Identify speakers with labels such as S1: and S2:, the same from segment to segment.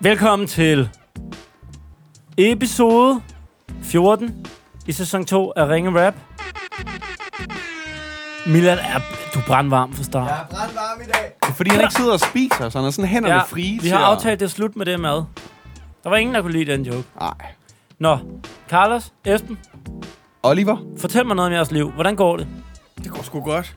S1: Velkommen til episode 14 i sæson 2 af Ringe Rap. Milad, er, du er brandvarm for start.
S2: Jeg er brandvarm i dag.
S3: Det er fordi, han ikke sidder og spiser, så han er sådan hænderne ja, frie
S1: vi
S3: til
S1: har
S3: at-
S1: aftalt det er slut med det mad. Der var ingen, der kunne lide den joke.
S3: Nej.
S1: Nå, Carlos, Esben,
S3: Oliver?
S1: fortæl mig noget om jeres liv. Hvordan går det?
S2: Det går sgu godt.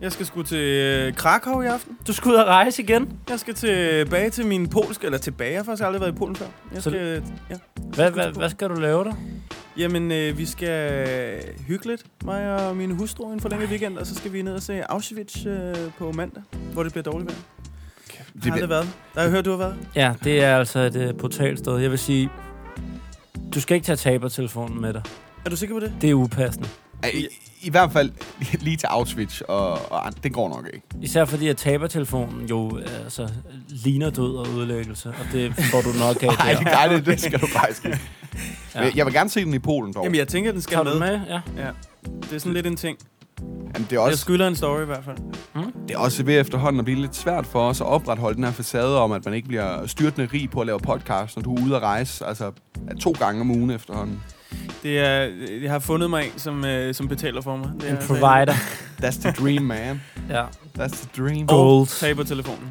S2: Jeg skal sgu til øh, Krakow i aften.
S1: Du skal ud og rejse igen.
S2: Jeg skal tilbage til min polske, eller tilbage, jeg har faktisk aldrig været i Polen før. Jeg
S1: Så-
S2: skal, ja.
S1: Hvad, hvad, hvad skal du lave der?
S2: Jamen, øh, vi skal hygge lidt, mig og min hustru, en forlænget weekend, og så skal vi ned og se Auschwitz øh, på mandag, hvor det bliver dårligt vejr. Det har
S3: bliver-
S2: aldrig været. Der har jeg hørt, du har været.
S1: Ja, det er altså et uh, brutalt sted. Jeg vil sige, du skal ikke tage tabertelefonen med dig.
S2: Er du sikker på det?
S1: Det er upassende.
S3: I, I hvert fald lige til Auschwitz, og, og an- det går nok ikke.
S1: Især fordi, at tabertelefonen jo altså, ligner død og ødelæggelse, og det får du nok af
S3: Nej, det,
S1: der.
S3: nej, det, det skal du faktisk ikke.
S1: Ja.
S3: Ja. Jeg vil gerne se den i Polen, dog.
S2: Jamen, jeg tænker, den skal
S1: Tager du
S2: med.
S1: med? Ja.
S2: Det er sådan lidt en ting.
S3: Jamen, det, er
S2: Jeg
S3: også,
S2: skylder en story i hvert fald.
S3: det er også ved efterhånden at blive lidt svært for os at opretholde den her facade om, at man ikke bliver styrtende rig på at lave podcast, når du er ude at rejse altså, to gange om ugen efterhånden.
S2: Det er, jeg har fundet mig en, som, øh, som betaler for mig. Det
S1: En
S2: er- altså-
S1: provider.
S3: That's the dream, man.
S1: Ja.
S3: That's the dream.
S1: Goals.
S2: Tag på telefonen.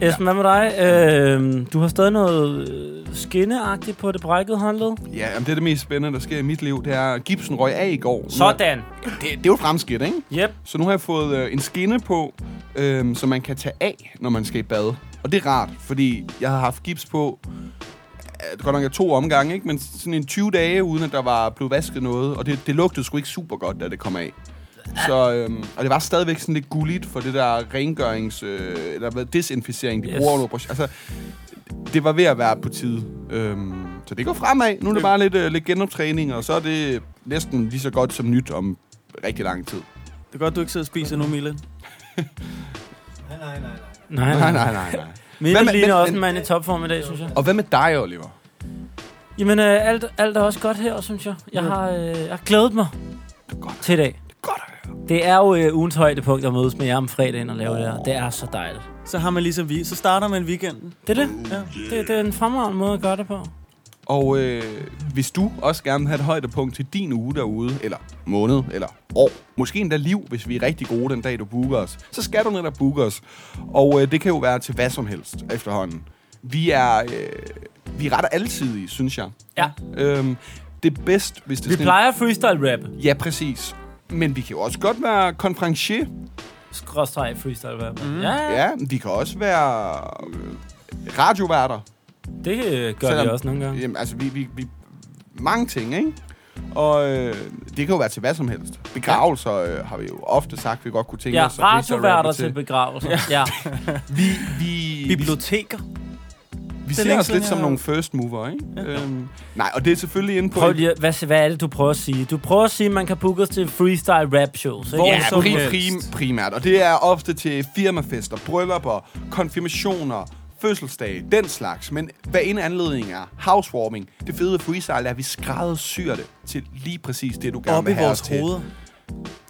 S1: Esben, hvad med dig? Øh, du har stadig noget øh, skinneagtigt på det brækkede håndled.
S3: Ja, jamen, det er det mest spændende, der sker i mit liv. Det er, at gipsen røg af i går. Nu-
S1: Sådan.
S3: Det, det er jo et fremskridt, ikke?
S1: Yep.
S3: Så nu har jeg fået øh, en skinne på, øh, som man kan tage af, når man skal i bad. Og det er rart, fordi jeg har haft gips på, øh, godt nok af to omgange, ikke? men sådan en 20 dage, uden at der var blevet vasket noget. Og det, det lugtede sgu ikke super godt, da det kom af. Så, øhm, og det var stadigvæk sådan lidt gulligt for det der rengørings... Øh, eller hvad, desinficering, de
S1: Yes.
S3: yes. bruger under operation- Altså, det var ved at være på tide. Øhm, så det går fremad. Nu er det bare lidt, øh, lidt genoptræning, og så er det næsten lige så godt som nyt om rigtig lang tid.
S2: Det er godt, du ikke sidder og spiser nu, Mille.
S1: Nej,
S3: Nej,
S1: nej.
S3: nej, nej, nej.
S1: Mikkel
S3: Hvad med-
S1: ligner
S3: men-
S1: også en
S3: men-
S1: mand i topform i dag, synes jeg.
S3: Og hvad med dig, Oliver?
S1: Jamen, øh, alt, alt er også godt her, synes jeg. Jeg har, øh, jeg har glædet mig
S3: Det er godt,
S1: til i dag.
S3: det er godt at høre.
S1: Det er jo øh, ugens højdepunkt at mødes med jer om fredagen og lave det her. Det er så dejligt.
S2: Så har man ligesom vi. Så starter man weekenden.
S1: Det er det.
S2: Ja.
S1: Det, det er en fremragende måde at gøre det på.
S3: Og øh, hvis du også gerne vil have et højdepunkt til din uge derude, eller måned, eller år, måske endda liv, hvis vi er rigtig gode den dag, du booker os, så skal du netop booke os. Og øh, det kan jo være til hvad som helst efterhånden. Vi er, øh, vi er ret alsidige, synes jeg.
S1: Ja.
S3: Øhm, det er bedst, hvis det er
S1: Vi
S3: sådan en-
S1: plejer at freestyle rap.
S3: Ja, præcis. Men vi kan jo også godt være konferencier.
S1: Skråstreg freestyle rap. Mm. Ja, ja,
S3: Ja, vi kan også være øh, radioværter.
S1: det øh, gør
S3: Selvom-
S1: vi også nogle gange.
S3: Jamen, altså, vi, vi, vi... Mange ting, ikke? Og øh, det kan jo være til hvad som helst. Begravelser øh, har vi jo ofte sagt, vi godt kunne tænke
S1: Ja,
S3: os. at
S1: radioværter
S3: freestyle-rappe
S1: til begravelser. Ja.
S3: Vi, vi, vi,
S2: Biblioteker.
S3: vi
S2: længe
S3: ser os
S2: siden,
S3: lidt
S2: jeg
S3: som
S2: har-
S3: nogle first mover, ikke? Ja. Øhm, nej, og det er selvfølgelig inde på...
S1: Prøv
S3: en-
S1: lige, at- hvad, hvad er det, du prøver at sige? Du prøver at sige, at man kan booke os til freestyle rap shows. Ikke?
S2: Hvor
S3: Ja,
S2: som
S3: prim,
S2: helst.
S3: prim, primært. Og det er ofte til firmafester, bryllupper, konfirmationer, fødselsdage, den slags. Men hvad en anledning er, housewarming, det fede ved freestyle er, at vi skræddersyr det til lige præcis det, du gerne
S2: Op i
S3: vil have
S2: vores
S3: os til.
S2: hoveder.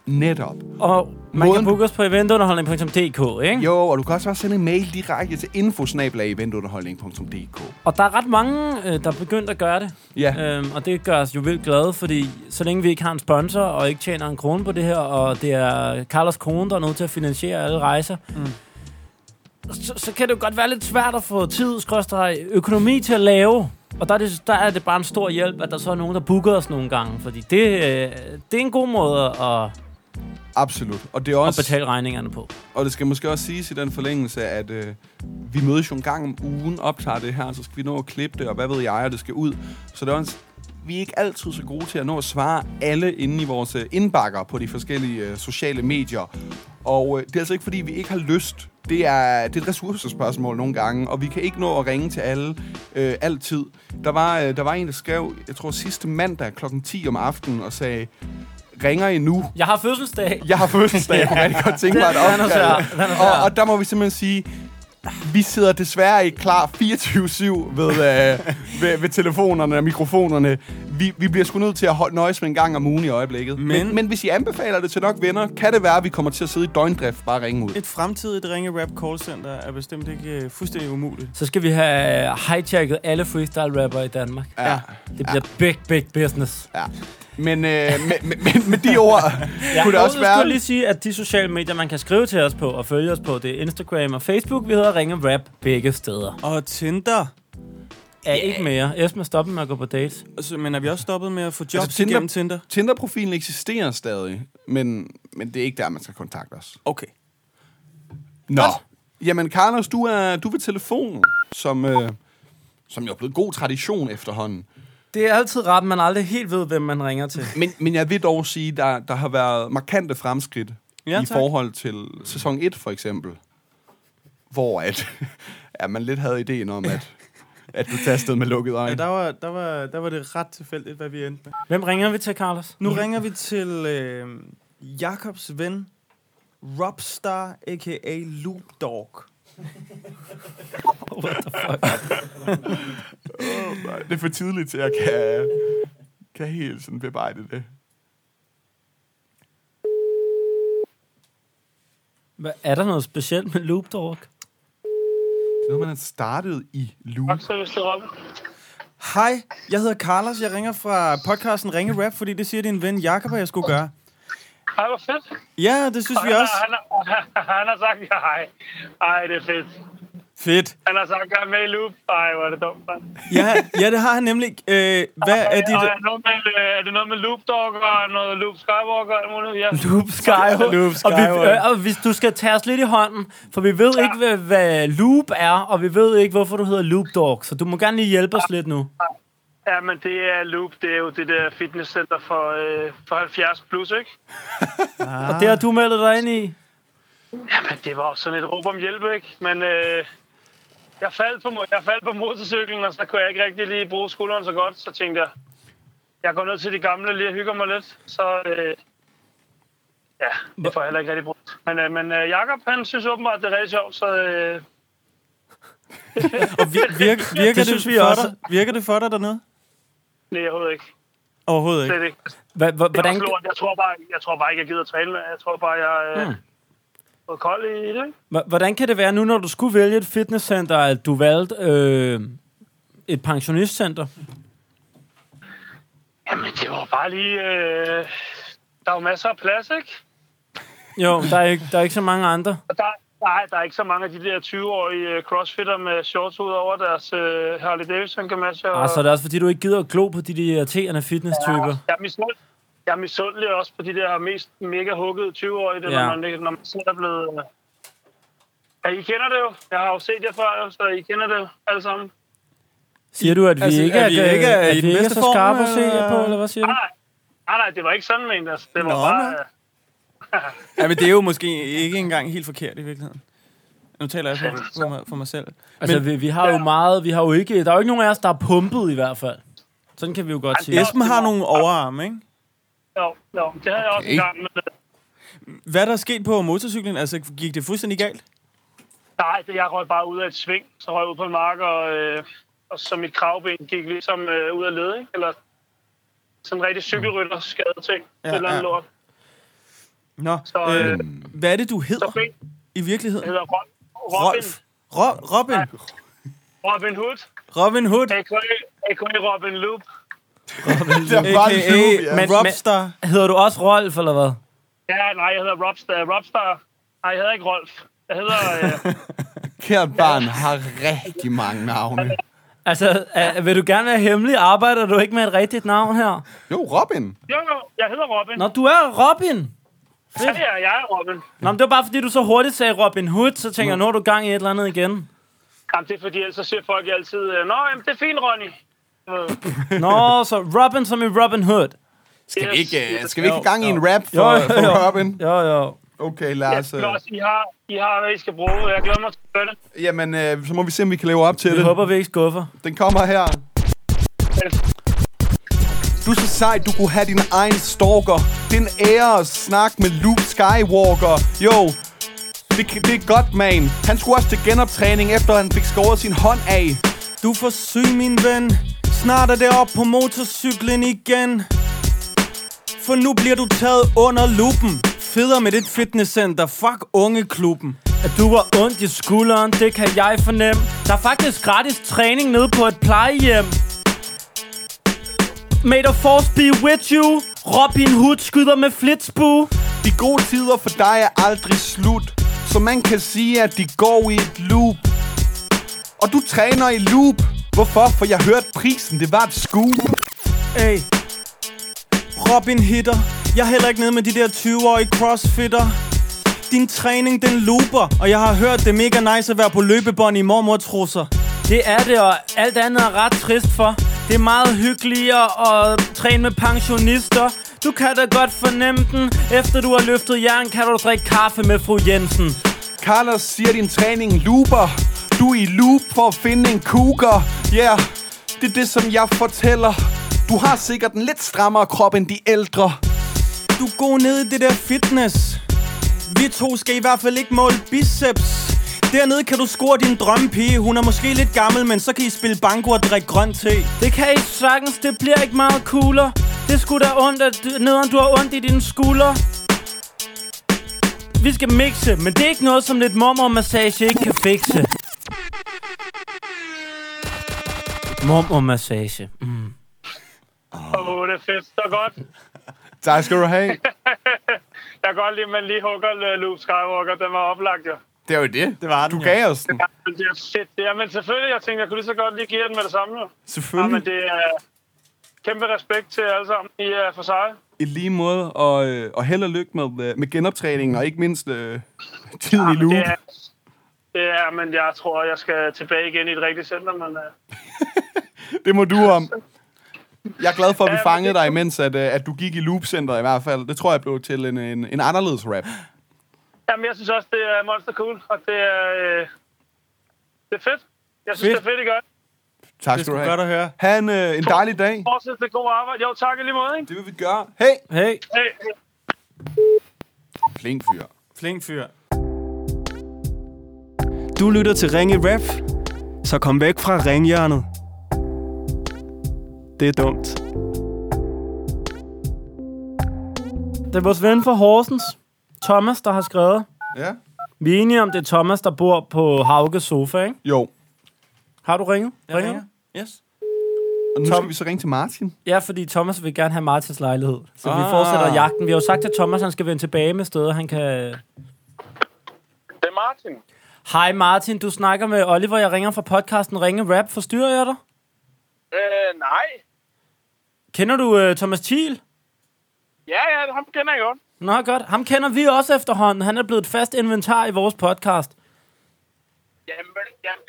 S3: Netop.
S1: Og man
S3: Måden-
S1: kan booke os på eventunderholdning.dk, ikke?
S3: Jo, og du kan også bare sende en mail direkte til infosnablag.eventunderholdning.dk.
S1: Og der er ret mange, øh, der er begyndt at gøre det.
S3: Ja,
S1: Øhm, og det gør os jo vildt glade, fordi så længe vi ikke har en sponsor og ikke tjener en krone på det her, og det er Carlos kone, der er nødt til at finansiere alle rejser, mm. så, så kan det jo godt være lidt svært at få tid, skråstreg, økonomi til at lave. Og der er, det, der er det bare en stor hjælp, at der så er nogen, der booker os nogle gange, fordi det, øh, det er en god måde at,
S3: absolut. Og det, er
S1: at
S3: også,
S1: betale regningerne på.
S3: og det skal måske også siges i den forlængelse, at øh, vi mødes jo en gang om ugen, optager det her, så skal vi nå at klippe det, og hvad ved jeg, og det skal ud. Så det er også, vi er ikke altid så gode til at nå at svare alle inde i vores øh, indbakker på de forskellige øh, sociale medier. Og øh, det er altså ikke, fordi vi ikke har lyst. Det er, det er et ressourcespørgsmål nogle gange, og vi kan ikke nå at ringe til alle øh, altid. Der var, øh, der var en, der skrev, jeg tror sidste mandag kl. 10 om aftenen, og sagde, ringer I nu?
S1: Jeg har fødselsdag.
S3: Jeg har fødselsdag, jeg kunne rigtig godt tænke mig et
S1: Den- den er svær.
S3: opkald.
S1: Den er svær.
S3: Og, og der må vi simpelthen sige, vi sidder desværre ikke klar 24-7 ved, øh, ved, ved telefonerne og mikrofonerne. vi, vi bliver sgu nødt til at holde nøjes med en gang om ugen i øjeblikket. Men, men,
S2: Men-
S3: men hvis I anbefaler det til nok venner, kan det være, at vi kommer til at sidde i døgndrift bare og ringe ud.
S2: Et fremtidigt ringe rap callcenter er bestemt ikke øh, fuldstændig umuligt.
S1: Så skal vi have hijacket alle freestyle-rapper i Danmark.
S3: Ja.
S1: Det bliver big, big business.
S3: ja. Men øh, med, med, med, med de ord ja. kunne det også
S1: Jeg
S3: være...
S1: skulle lige sige, at de sociale medier, man kan skrive til os på og følge os på, det er Instagram og Facebook. Vi hedder Ringe Rap begge steder.
S2: Og Tinder.
S1: Er ikke mere. Esma, stop med at gå på dates.
S2: Altså, men er vi også stoppet med at få jobs
S3: Altså,
S2: altså,
S3: Tinder-
S2: Tinder? gennem Tinder?
S3: Tinder-profilen eksisterer stadig, men, men det er ikke der, man skal kontakte os.
S2: Okay.
S3: Nå. Jamen, Carlos, du er, du er ved telefonen, som, øh, som jo er blevet god tradition efterhånden.
S1: Det er altid rart, man aldrig helt ved, hvem man ringer til.
S3: Men, men jeg vil dog sige, der, der har været markante fremskridt ja,
S2: Ja,
S3: i
S2: tak.
S3: forhold til sæson 1, for eksempel. Hvor at, at man lidt havde ideen om, at, at du tastede med lukket øjne.
S2: Ja, der, var, der, var, der var det ret tilfældigt, hvad vi endte med.
S1: Hvem ringer vi til, Carlos?
S2: Nu ringer vi til øh, Jakobs ven, Robstar, a.k.a. Loop Dog.
S3: Det er for tidligt til, at jeg kan, kan helt sådan bearbejde det.
S1: Hvad, er der noget specielt med Loop Dog?
S3: Når man har startet i Lue.
S4: Service til Robin.
S2: Hej, jeg hedder Carlos. Jeg ringer fra podcasten Ringe Rap, fordi det siger din ven Jakob, at jeg skulle gøre.
S4: Ej, hvor fedt.
S2: Ja, det synes vi
S4: Han har-
S2: også.
S4: Han, har- han har sagt ja, hej. Ej, det er fedt.
S2: Fedt.
S4: Han har sagt, jeg er med i loop. Ej, hvor er det dumt, mand.
S2: Ja, ja det har han nemlig. Øh, hvad er
S4: Og er,
S2: dit...
S4: det noget med, øh, er det noget med Loop Dog og noget Loop Skywalker og alt muligt? Ja.
S1: Loop Skywalk.
S2: Loop
S1: Og,
S2: Skywalk.
S1: vi, øh, og hvis du skal tage os lidt i hånden, for vi ved ikke, hvad, hvad Loop er, og vi ved ikke, hvorfor du hedder Loop Dog. Så du må gerne lige hjælpe os lidt nu.
S4: ja, men det er Loop. Det er jo det der fitnesscenter for, øh, for 70 plus, ikke?
S1: Og det har du meldt dig ind i.
S4: Jamen, det var også sådan et råb om hjælp, ikke? Men øh, jeg, faldt på, mo- jeg faldt på motorcyklen, og så kunne jeg ikke rigtig lige bruge skulderen så godt. Så tænkte jeg, jeg går ned til de gamle lige og hygger mig lidt. Så øh, ja, det får jeg heller ikke rigtig brugt. Men, øh, men øh, Jacob, han synes åbenbart, det er rigtig sjovt, så... Øh,
S2: Og vir, virker, virker, det,
S1: synes vi
S2: for
S1: også.
S2: Dig, virker det for dig dernede?
S4: nej, jeg ved ikke.
S2: Overhovedet ikke.
S4: Slet ikke.
S1: Hva, hva,
S4: Det er også
S1: hvordan,
S4: lort. Jeg tror, bare, jeg tror bare ikke, jeg gider træne med. Jeg tror bare, jeg
S2: Hmm.
S4: øh, er kold i det, ikke?
S1: hva- hvordan kan det være nu, når du skulle vælge et fitnesscenter, at du valgte øh, et pensionistcenter?
S4: Jamen, det var bare lige... Øh, der er jo masser af plads, ikke?
S1: Jo, der er ikke, der er ikke så mange andre.
S4: Og Der, nej, der er ikke så mange af de der 20-årige øh, crossfitter med shorts ud over deres øh, Harley Davidson gamasher.
S1: Ah, så er det også, fordi du ikke gider at glo på de der irriterende fitnesstyper.
S4: Jeg er misund- jeg er misundelig også på de der mest mega huggede 20-årige, det,
S1: Ja.
S4: ja. når, man, når man selv er blevet... øh, Ja, I kender det jo. Jeg har jo set jer før, jo, så I kender det jo alle sammen.
S1: Siger du, at vi
S2: Altså,
S1: ikke
S2: er
S1: er,
S2: vi ikke
S1: at,
S2: i
S1: at
S2: den
S1: vi ikke er
S2: bedste
S1: så
S2: form,
S1: skarpe at se jer på,
S2: eller?
S1: eller hvad siger du?
S4: Nej, nej, Ah, nej det var ikke sådan ment. Altså. Det var
S2: Nå,
S4: bare...
S2: men.
S4: øh,
S2: Ja, men det er jo måske ikke engang helt forkert i virkeligheden. Nu taler jeg for, for, mig, for mig selv.
S1: Altså,
S2: Men-
S1: vi, vi har jo meget, vi har jo ikke, der er jo ikke nogen af os, der er pumpet i hvert fald. Sådan kan vi jo
S3: Altså,
S1: godt
S4: altså,
S1: sige.
S2: Esben har nogle overarme, ikke?
S4: Jo, jo, det havde jeg også
S3: Okay.
S4: en gang. Men, øh,
S2: Hvad der er sket på motorcyklen, altså gik det fuldstændig galt?
S4: Nej, det, jeg røg bare ud af et sving, så røg jeg ud på en mark, og, øh, og så mit kravben gik ligesom øh, ud af led, ikke? eller sådan en rigtig cykelrytter skade ting.
S2: Ja,
S4: Ja, eller andet
S2: ja.
S4: ja. lort.
S2: Nå,
S4: Så, øh,
S2: øh, hvad er det, du
S4: så
S2: hedder
S4: ben
S2: i virkeligheden?
S4: hedder Rob, Robin,
S2: Rolf. Ro- Robin.
S4: Robin Hood,
S2: Robin Hood,
S4: a.k.a. AKA Robin Loop.
S3: Det er bare en loop, ja.
S2: a.k.a.
S1: Men-
S2: Robstar.
S1: Hedder du også Rolf, eller hvad?
S4: Ja, nej, jeg hedder Robstar. Robstar. Nej, jeg hedder ikke Rolf. Jeg hedder... Øh,
S3: Kært barn har rigtig mange navne.
S1: Altså, er, vil du gerne være hemmelig? Arbejder du ikke med et rigtigt navn her?
S3: Jo, Robin.
S4: jo, jo, jeg hedder Robin.
S1: Nå, du er Robin!
S4: Ja, ja, jeg er Robin.
S1: Nå, men det var bare, fordi du så hurtigt sagde Robin Hood, så tænker jeg, nu har du gang i et eller andet igen.
S4: Jamen, det er fordi, ellers så siger folk altid, øh, Nå, jamen, det er fint, Ronny. Øh,
S1: Nå, så Robin som i Robin Hood.
S3: Skal vi
S4: yes,
S3: ikke, øh,
S4: yes.
S3: skal vi ikke i gang i en rap for,
S1: Jo, jo, jo.
S3: for Robin?
S1: Jo, jo.
S3: Okay,
S4: Ja,
S3: lad os...
S4: altså...
S3: Øh,
S4: også, I har, I har, hvad I skal bruge. Jeg glæder mig til at gøre det.
S3: jamen, øh, så må vi se, om vi kan leve op til
S1: Vi
S3: det.
S1: håber, vi ikke skuffer.
S3: Den kommer her. Du er så sej, du kunne have din egen stalker. Det er en ære at snakke med Luke Skywalker. Jo, det, det er godt, man. Han skulle også til genoptræning, efter han fik skåret sin hånd af.
S2: Du forsøg, min ven. Snart er det op på motorcyklen igen For nu bliver du taget under lupen Federe med dit fitnesscenter Fuck ungeklubben
S1: At du har ondt i skulderen, det kan jeg fornemme. Der er faktisk gratis træning nede på et plejehjem. May the force be with you. Robin Hood skyder med flitsbue.
S3: De gode tider for dig er aldrig slut, så man kan sige, at de går i et loop. Og du træner i loop. Hvorfor? For jeg hørte prisen, det var et scoop.
S2: Ey Robin hitter Jeg er heller ikke nede med de der 20-årige crossfitter Din træning den looper Og jeg har hørt det er mega nice at være på løbebånd i mormortrusser
S1: Det er det, og alt andet er ret trist for. Det er meget hyggeligere at træne med pensionister. Du kan da godt fornemme den. Efter du har løftet jern, kan du drikke kaffe med fru Jensen.
S3: Carlos siger, din træning looper. Du er i loop for at finde en cougar. Ja, yeah, det er det, som jeg fortæller. Du har sikkert en lidt strammere krop end de ældre.
S2: Du er god nede i det der fitness Vi to skal i hvert fald ikke måle biceps Dernede kan du score din drømmepige Hun er måske lidt gammel, men så kan I spille banko og drikke grøn te
S1: Det kan I sagtens, det bliver ikke meget cooler. Det skulle da ondt, at du- nederen du har ondt i dine skuldre. Vi skal mixe, men det er ikke noget, som lidt mormormassage ikke kan fikse. Mormormassage. mm.
S4: Åh, oh, det er fedt. Så godt.
S3: Tak skal du have.
S4: Jeg kan godt lide, at man lige hugger øh, Luke Skywalker. Den var oplagt, jo.
S3: Det var jo det.
S2: Det var den,
S3: Du
S2: ja.
S3: gav os den.
S4: Men det er fedt. Det er, men selvfølgelig, jeg tænkte, jeg kunne lige så godt lige give den med det samme, jo. Ja,
S3: Selvfølgelig.
S4: men det er øh, kæmpe respekt til jer alle sammen. I er for seje.
S3: I lige måde, og, øh, og held og lykke med, øh, med genoptræningen, og ikke mindst øh, tiden i loop.
S4: Det er, det er, men jeg tror, jeg skal tilbage igen i et rigtigt center, men øh,
S3: Det må du om. Jeg er glad for, at vi
S4: Ja, men
S3: fangede
S4: det-
S3: dig, imens at, øh, at du gik i loopcenteret i hvert fald. Det tror jeg blev til en, en, en anderledes rap.
S4: Jamen, jeg synes også, det er monster cool, og det er, øh, det er fedt. Jeg synes, fedt.
S2: Fedt.
S4: det er fedt, I gør. det.
S3: Tak skal
S2: Det
S3: du
S2: skulle godt
S3: have.
S2: at høre
S3: Ha' en, øh, en dejlig dag.
S4: Fortsæt det gode arbejde. Jo, tak i lige måde, ikke?
S3: Det vil vi gøre. Hey!
S2: Hey,
S4: Hey.
S3: Flink fyr.
S2: flink fyr Du lytter til Ringe Rap Så kom væk fra ringhjørnet Det er dumt
S1: Det er vores ven fra Horsens, Thomas, der har skrevet.
S3: Ja?
S1: Vi er enige om, det er Thomas, der bor på Hauges sofa, ikke?
S3: Jo.
S1: Har du ringet? Ringer du?
S2: ringer. Yes
S3: Og nu
S1: Tom-
S3: skal vi så ringe til Martin.
S1: Ja, fordi Thomas vil gerne have Martins lejlighed. Så vi
S3: Ah.
S1: fortsætter jagten. Vi har jo sagt til Thomas, at han skal vende tilbage med steder, han kan...
S4: Det er Martin.
S1: Hej Martin, du snakker med Oliver. Jeg ringer fra podcasten Ringe Rap. Forstyrrer jeg dig?
S4: Øh, nej.
S1: Kender du øh, Thomas Thiel?
S4: Ja, ja, ham kender jeg godt.
S1: Nå, godt. Ham kender vi også efterhånden. Han er blevet et fast inventar i vores podcast.
S4: Jamen, jamen,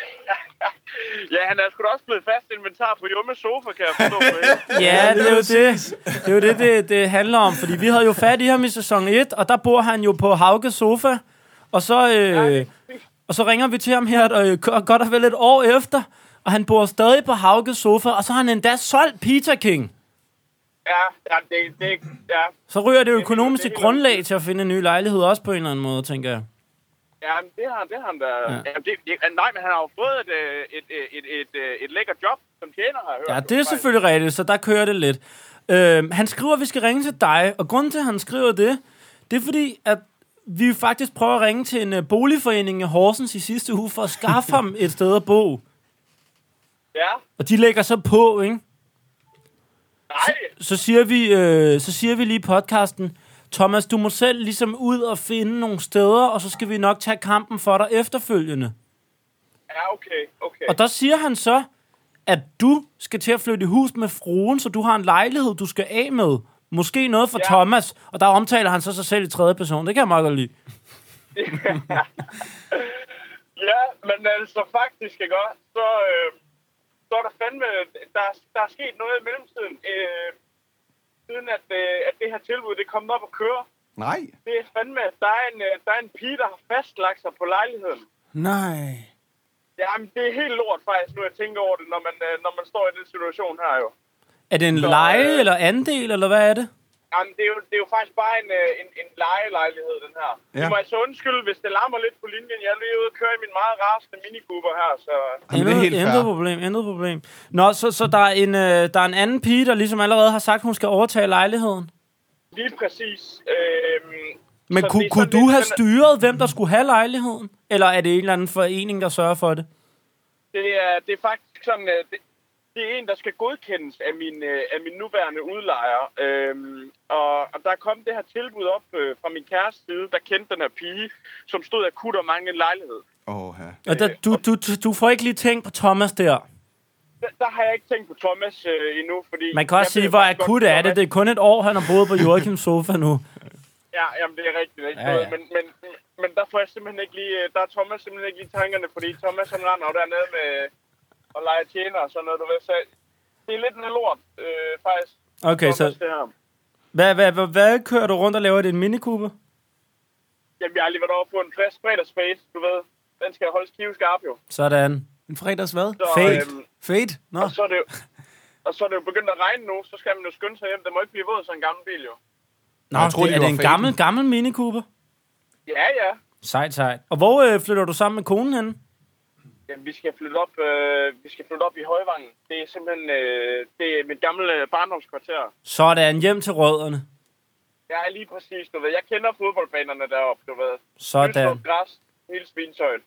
S4: ja, han er sgu da også blevet fast inventar på Jummes sofa, kan jeg forstå.
S1: Ja, det er jo det. Det er jo det, det, det handler om. Fordi vi havde jo fat i ham i sæson 1, og der bor han jo på Hauges sofa. Og så, øh, og så ringer vi til ham her og, øh, og godt og vel et år efter, og han bor stadig på Hauges sofa, og så har han endda solgt Peter King.
S4: ja, ja, det, det, ja,
S1: Så ryger det økonomiske grundlag til at finde en ny lejlighed også på en eller anden måde, tænker jeg.
S4: Ja, men det har han, det har han da. Ja. Jamen, det, det, nej, men han har jo fået et, øh, et, et, et, et, øh, et lækkert job som tjener, har jeg hørt.
S1: Ja, det er selvfølgelig rigtigt, så der kører det lidt. Øhm, han skriver, at vi skal ringe til dig, og grunden til, at han skriver det, det er fordi, at vi faktisk prøver at ringe til en øh, boligforening i Horsens i sidste uge for at skaffe ham et sted at bo.
S4: Ja,
S1: Og de lægger så på, ikke?
S4: nej,
S1: Så siger vi, øh, så siger vi lige i podcasten, Thomas, du må selv ligesom ud og finde nogle steder, og så skal vi nok tage kampen for dig efterfølgende.
S4: ja, okay, okay.
S1: Og der siger han så, at du skal til at flytte i hus med fruen, så du har en lejlighed, du skal af med. Måske noget for ja.
S4: Ja.
S1: Thomas. Og der omtaler han så sig selv i tredje person. Det kan jeg meget godt lide.
S4: Ja, men altså faktisk, ikke også, så, øh, så er der fandme, der, der er sket noget i mellemtiden, øh, siden at, øh, at det her tilbud, det er kommet op at køre.
S3: Nej.
S4: Det er fandme, at der er en, øh, der er en pige, der har fastlagt sig på lejligheden.
S2: Nej
S4: Jamen, det er helt lort faktisk, nu jeg tænker over det, når man, øh, når man står i den situation her jo.
S1: Er det en
S4: Så,
S1: leje
S4: øh,
S1: eller andel, eller hvad er det?
S5: Jamen, det er jo, det er jo faktisk bare en, øh, en, en lejelejlighed, den her. Ja.
S3: Ja.
S5: Du må altså undskylde, hvis det larmer lidt på linjen. Jeg er lige ude og køre i min meget rasende miniguber her, så...
S3: Jamen, det er helt
S1: intet
S3: fair.
S1: problem, intet problem. Nå, så, så der, er en, øh, der er en anden pige, der ligesom allerede har sagt, hun skal overtage lejligheden.
S5: Lige præcis. Øhm, så
S1: Men
S5: det
S1: kunne,
S5: er
S1: kunne
S5: sådan
S1: du
S5: lidt
S1: have
S5: sådan-
S1: styret, hvem der skulle have lejligheden? Eller er det en eller anden forening, der sørger for det?
S5: Det er, det er faktisk sådan, øh, det, det er en, der skal godkendes af min, øh, af min nuværende udlejer. Øhm, og, og der kom det her tilbud op øh, fra min kæreste side, der kendte den her pige, som stod akut og manglede en lejlighed.
S3: Åh, ja.
S1: Og der, du, du, du får ikke lige tænkt på Thomas der.
S5: Der, der har jeg ikke tænkt på Thomas øh, endnu, fordi...
S1: Man kan
S5: jeg
S1: også sige,
S5: ved
S1: hvor
S5: faktisk godt,
S1: akut
S5: at
S1: er det.
S5: Thomas-
S1: Det er kun et år, han har boet på Joachims sofa nu.
S5: Ja, jamen det er rigtigt. Ikke?
S1: Ja,
S5: Ja,
S1: ja.
S5: ja. Men, men, men der får jeg simpelthen ikke lige... øh, Der er Thomas simpelthen ikke lige i tankerne, fordi Thomas han render jo dernede med øh, og leger tjener og sådan noget, du ved. Så det er lidt en lort, øh, faktisk.
S1: Okay, så
S5: Thomas, det her.
S1: hvad, hvad, hvad, hvad kører du rundt og laver i din minikube?
S5: Jamen, jeg har lige været over på en frisk fredagsfest, du ved. Den skal holdes knivskarp jo.
S1: Sådan.
S2: En fredags hvad?
S5: Så,
S1: Fedt.
S5: Øhm,
S2: Fade? Nå.
S5: og, så er det jo, og så er det jo begyndt at regne nu, så skal man jo skynde sig hjem. Det må ikke blive våd, så en gammel bil jo.
S1: Nå,
S3: Jeg troede,
S1: det,
S3: de
S1: er det
S3: var
S1: en
S3: faken.
S1: gammel, gammel minikube?
S5: Ja, ja.
S1: Sejt, sejt. Og hvor øh, flytter du sammen med konen henne?
S5: Jamen, vi skal flytte op, øh, vi skal flytte op i Højvangen. Det er simpelthen øh, det er mit gamle øh, barndomskvarter.
S1: Sådan, hjem til rødderne.
S5: Ja, lige præcis, du ved. Jeg kender fodboldbanerne deroppe, du ved.
S1: Sådan.
S5: Ølstrup Græs, hele svinetøjet.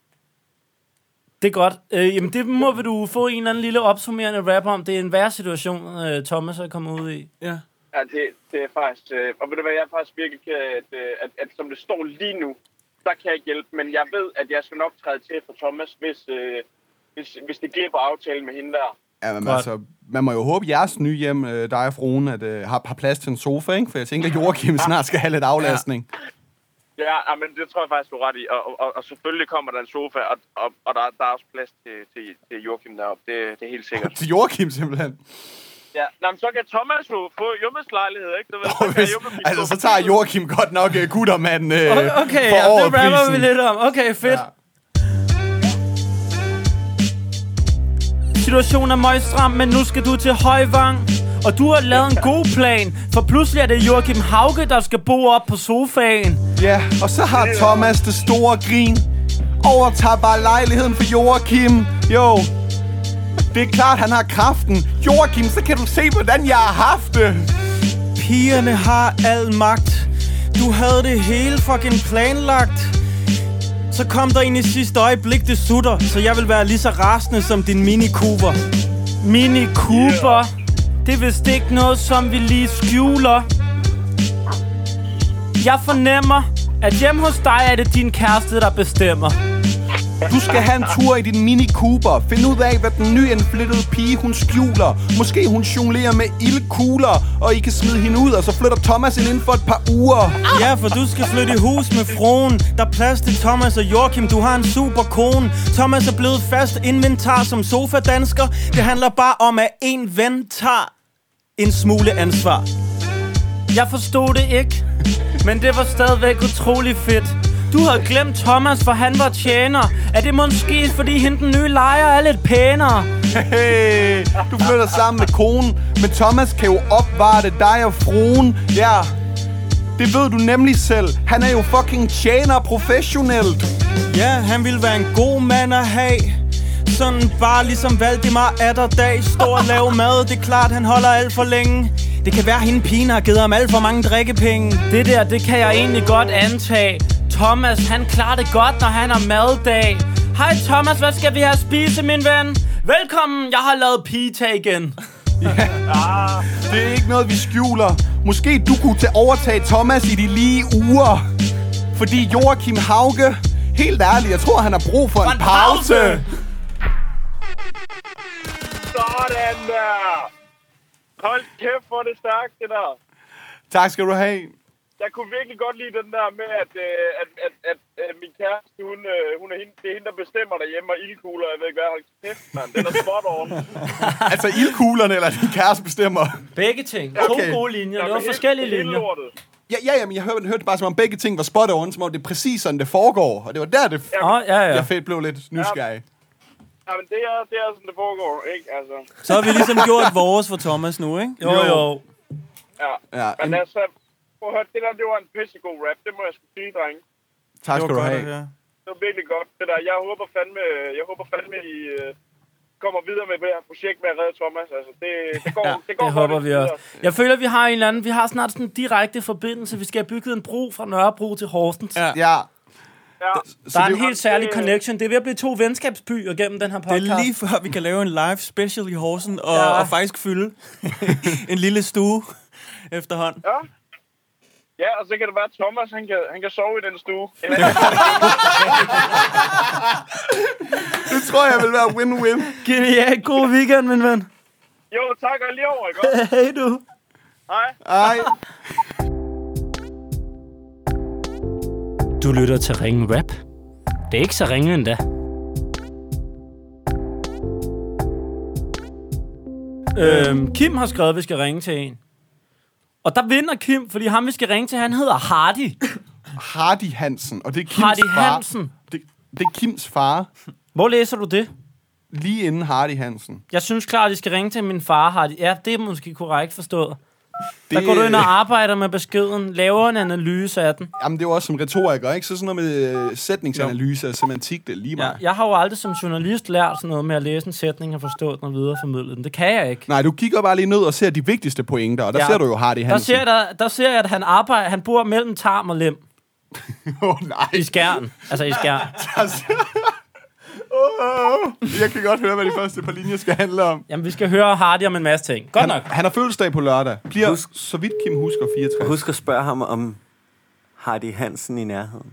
S1: Det er godt. Øh, jamen, det må vil du få en eller anden lille opsummerende rap om. Det er en værre situation, øh, Thomas er kommet ud i.
S2: Ja.
S5: Ja, det, det er faktisk... Øh, og ved du hvad, jeg er faktisk virkelig ked af, at, øh, at, at, som det står lige nu, der kan jeg ikke hjælpe. Men jeg ved, at jeg skal nok træde til for Thomas, hvis, øh, hvis, hvis det giver på aftalen med hende der.
S3: Ja, men
S1: Godt.
S3: altså, man må jo håbe, at jeres nye hjem, øh, dig og fruen, at, øh, har, har plads til en sofa, ikke? For jeg tænker, at Joachim snart skal have lidt aflastning.
S5: Ja, ja, men det tror jeg faktisk, du er ret i. Og, og, og, og selvfølgelig kommer der en sofa, og, og, og der, der er også plads til, til, til Joachim deroppe. Det, det er helt sikkert.
S3: Til Joachim, simpelthen.
S5: Ja, Nå, men så kan Thomas jo få Jummes lejlighed, ikke? Du ved,
S3: Og
S5: så kan
S3: hvis,
S5: Jumme blive
S3: altså, så
S5: skuffet.
S3: tager Joachim godt nok øh, guttermanden øh,
S1: Okay,
S3: for
S1: ja, det
S3: året
S1: rapper vi
S3: prisen.
S1: lidt om. Okay, fedt.
S3: Ja.
S1: Situationen er møgstram, men nu skal du til Højvang. Og du har lavet en god plan, for pludselig er det Joachim Hauke, der skal bo op på sofaen.
S3: Ja, og så har Thomas det store grin. Overtager bare lejligheden for Joachim. Jo, det er klart, han har kraften. Joachim, så kan du se, hvordan jeg har haft det.
S2: Pigerne har al magt. Du havde det hele fucking planlagt. Så kom der ind i sidste øjeblik, det sutter. Så jeg vil være lige så rasende som din Mini Cooper.
S1: Mini Cooper. Det er vist ikke noget, som vi lige skjuler. Jeg fornemmer, at hjemme hos dig er det din kæreste, der bestemmer.
S3: Du skal have en tur i din Mini Cooper. Find ud af, hvad den nyindflyttede pige, hun skjuler. Måske hun jonglerer med ildkugler, og I kan smide hende ud, og så flytter Thomas ind inden for et par uger.
S2: Ja, for du skal flytte i hus med fruen. Der er plads til Thomas og Joachim. Du har en super kone. Thomas er blevet fast inventar som sofadansker. Det handler bare om, at en ven tager en smule ansvar.
S1: Jeg forstod det ikke, men det var stadigvæk utrolig fedt. Du havde glemt Thomas, for han var tjener. Er det måske, fordi hende den nye lejer er lidt pænere?
S3: Hey, du flytter sammen med konen, men Thomas kan jo opvarte dig og fruen. Ja, det ved du nemlig selv. Han er jo fucking tjener professionelt.
S2: Ja, han ville være en god mand at have Sådan bare ligesom Valdemar Atterdag Stå og lave mad, det er klart han holder alt for længe Det kan være hende pigen har givet ham alt for mange drikkepenge
S1: Det der, det kan jeg egentlig godt antage. Thomas, han klarer det godt, når han har maddag. Hej Thomas, hvad skal vi have at spise, min ven? Velkommen, jeg har lavet pita igen.
S3: Det er ikke noget, vi skjuler. Måske du kunne tage overtage Thomas i de lige uger. Fordi Joachim Hauge, helt ærligt, jeg tror, han har brug for, en,
S1: en
S3: pause.
S1: pause.
S5: Sådan der! Hold kæft, hvor er det stærkt, det der.
S3: Tak skal du have.
S5: Jeg kunne virkelig godt lide den der med, at, øh, at, at, at, at min kæreste, hun, øh, hun er hende, det er hende, der bestemmer derhjemme, og ildkugler, jeg ved ikke hvad, hold kæft, mand. Den er spot on.
S3: Altså ildkuglerne eller din kæreste bestemmer.
S1: Begge ting.
S3: Okay.
S1: To gode linjer. Det
S5: Jamen,
S1: var
S5: hele-
S1: forskellige
S5: hele
S1: linjer.
S5: lortet.
S3: Ja, ja, ja men jeg hørte, hørte bare, som om begge ting var spot on, som om det er præcis sådan, det foregår. Og det var der, det f-
S1: Åh, oh, ja, ja.
S3: jeg fedt blev lidt nysgerrig.
S5: Jamen, det er, det er sådan, det foregår, ikke? Altså.
S1: ligesom
S2: Så har vi ligesom gjort vores for Thomas nu, ikke?
S1: Jo, jo.
S5: Ja.
S3: Ja,
S5: Men
S3: en,
S5: altså, prøv at høre, det der, det var en pissegod rap. Det må jeg sgu sige, drenge.
S3: tak skal du have.
S2: at høre.
S5: Det var virkelig godt, det der. Jeg håber fandme, jeg håber fandme, I øh, kommer videre med det her projekt med at redde Thomas. Altså, det, det går,
S3: Ja,
S5: ja, det går
S1: Det håber
S5: hurtigt
S1: vi
S5: videre.
S1: også. Jeg føler, vi har en eller anden... Vi har snart sådan en direkte forbindelse. Vi skal have bygget en bro fra Nørrebro til Horsens.
S3: Ja.
S2: Ja,
S5: Ja,
S1: Der er en
S3: det-
S1: helt særlig
S5: det-
S1: connection. Det er ved at blive to venskabsbyer gennem den her
S2: det
S1: podcast.
S2: er lige før, vi kan lave en live special i Horsen og,
S1: Ja.
S2: ja. og faktisk fylde en lille stue efterhånden.
S5: ja. Ja, og så kan det være, at Thomas, han kan, han kan sove i den stue.
S6: Det tror jeg vil være win-win.
S1: Genial. God weekend, min ven.
S5: jo, tak, og lige over, ikke? også?
S1: Hej du.
S5: Hej.
S6: Ej.
S1: Du lytter til Ringe Rap. Det er ikke så ringe endda. Øhm, Kim har skrevet, at vi skal ringe til en. Og der vinder Kim, fordi ham, vi skal ringe til, han hedder Hardy.
S3: Hardy Hansen, og det er Kims
S1: Hardy
S3: far.
S1: Hansen.
S3: Det, det er Kims far,
S1: Hvor læser du det?
S3: lige inden Hardy Hansen.
S1: Jeg synes klart, at I skal ringe til min far, Hardy. Ja, det er måske korrekt forstået. Det... Der
S3: Det- øh,
S1: går du ind og arbejder med beskeden, laver en analyse af den.
S3: Jamen, det er jo også som retoriker, ikke? Så sådan noget med øh, sætningsanalyse og semantik, det er lige
S1: Ja.
S3: meget. Ja.
S1: Jeg har jo aldrig som journalist lært sådan noget med at læse en sætning og forstå den og videreformidle den. Det kan jeg ikke.
S3: Nej, du kigger bare lige ned og ser de vigtigste pointer, og der
S1: Ja.
S3: ja. ser du jo Hardy
S1: Der
S3: Hansen.
S1: ser, jeg, der, der ser jeg, at han, arbejder, han bor mellem tarm og lem
S6: Åh, oh, nej.
S1: i skærn. Altså i skærn.
S6: Oh, jeg kan godt høre, hvad de første par linjer skal handle om.
S1: Jamen, vi skal høre Hardy om en masse ting. Godt nok.
S3: han, han har fødselsdag på lørdag. Bliver,
S7: Husk-
S3: Husk. så vidt Kim husker, 64.
S7: Husk at spørge ham, om Hardy Hansen i nærheden.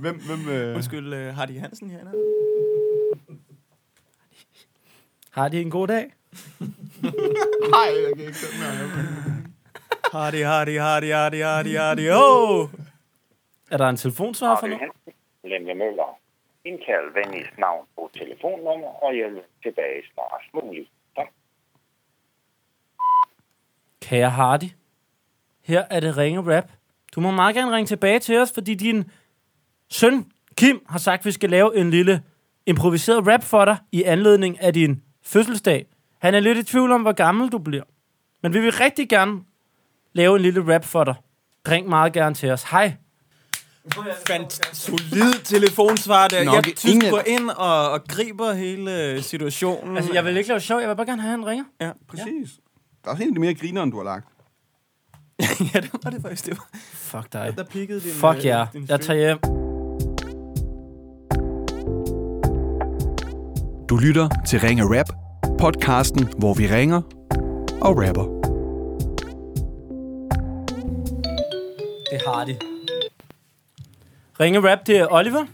S3: Hvem, hvem, øh,
S2: Undskyld, øh, Hardy Hansen herinde.
S1: Hardy, en god dag.
S6: Nej, jeg kan ikke den her.
S2: Hardy, Hardy, Hardy, Hardy, Hardy, Hardy, oh!
S1: Er der en telefonsvar for nu?
S8: Lemle Møller. Indkald venligst navn og telefonnummer og hjælp tilbage snarest muligt. Tak.
S1: Kære Hardy, her er det ringe rap. Du må meget gerne ringe tilbage til os, fordi din søn, Kim, har sagt, at vi skal lave en lille improviseret rap for dig i anledning af din fødselsdag. Han er lidt i tvivl om, hvor gammel du bliver. Men vi vil rigtig gerne lave en lille rap for dig. Ring meget gerne til os. Hej.
S2: Fandt solid telefonsvar der.
S3: Nå,
S2: jeg
S3: vi-
S2: tysk
S3: ingen-
S2: går ind og, og griber hele øh, situationen.
S1: Altså, jeg vil ikke lave sjov. Jeg vil bare gerne have, at han ringer.
S2: Ja,
S3: Præcis. Der er helt mere griner, end du har lagt.
S2: ja, det var det faktisk. Det var,
S1: Fuck dig.
S2: der pikkede din...
S1: Fuck
S2: øh,
S1: jer.
S2: din
S1: Jeg
S2: stream.
S1: tager hjem.
S3: Du lytter til Ringe Rap, podcasten, hvor vi ringer og rapper.
S1: Det har de. Ringe rap, det er Oliver.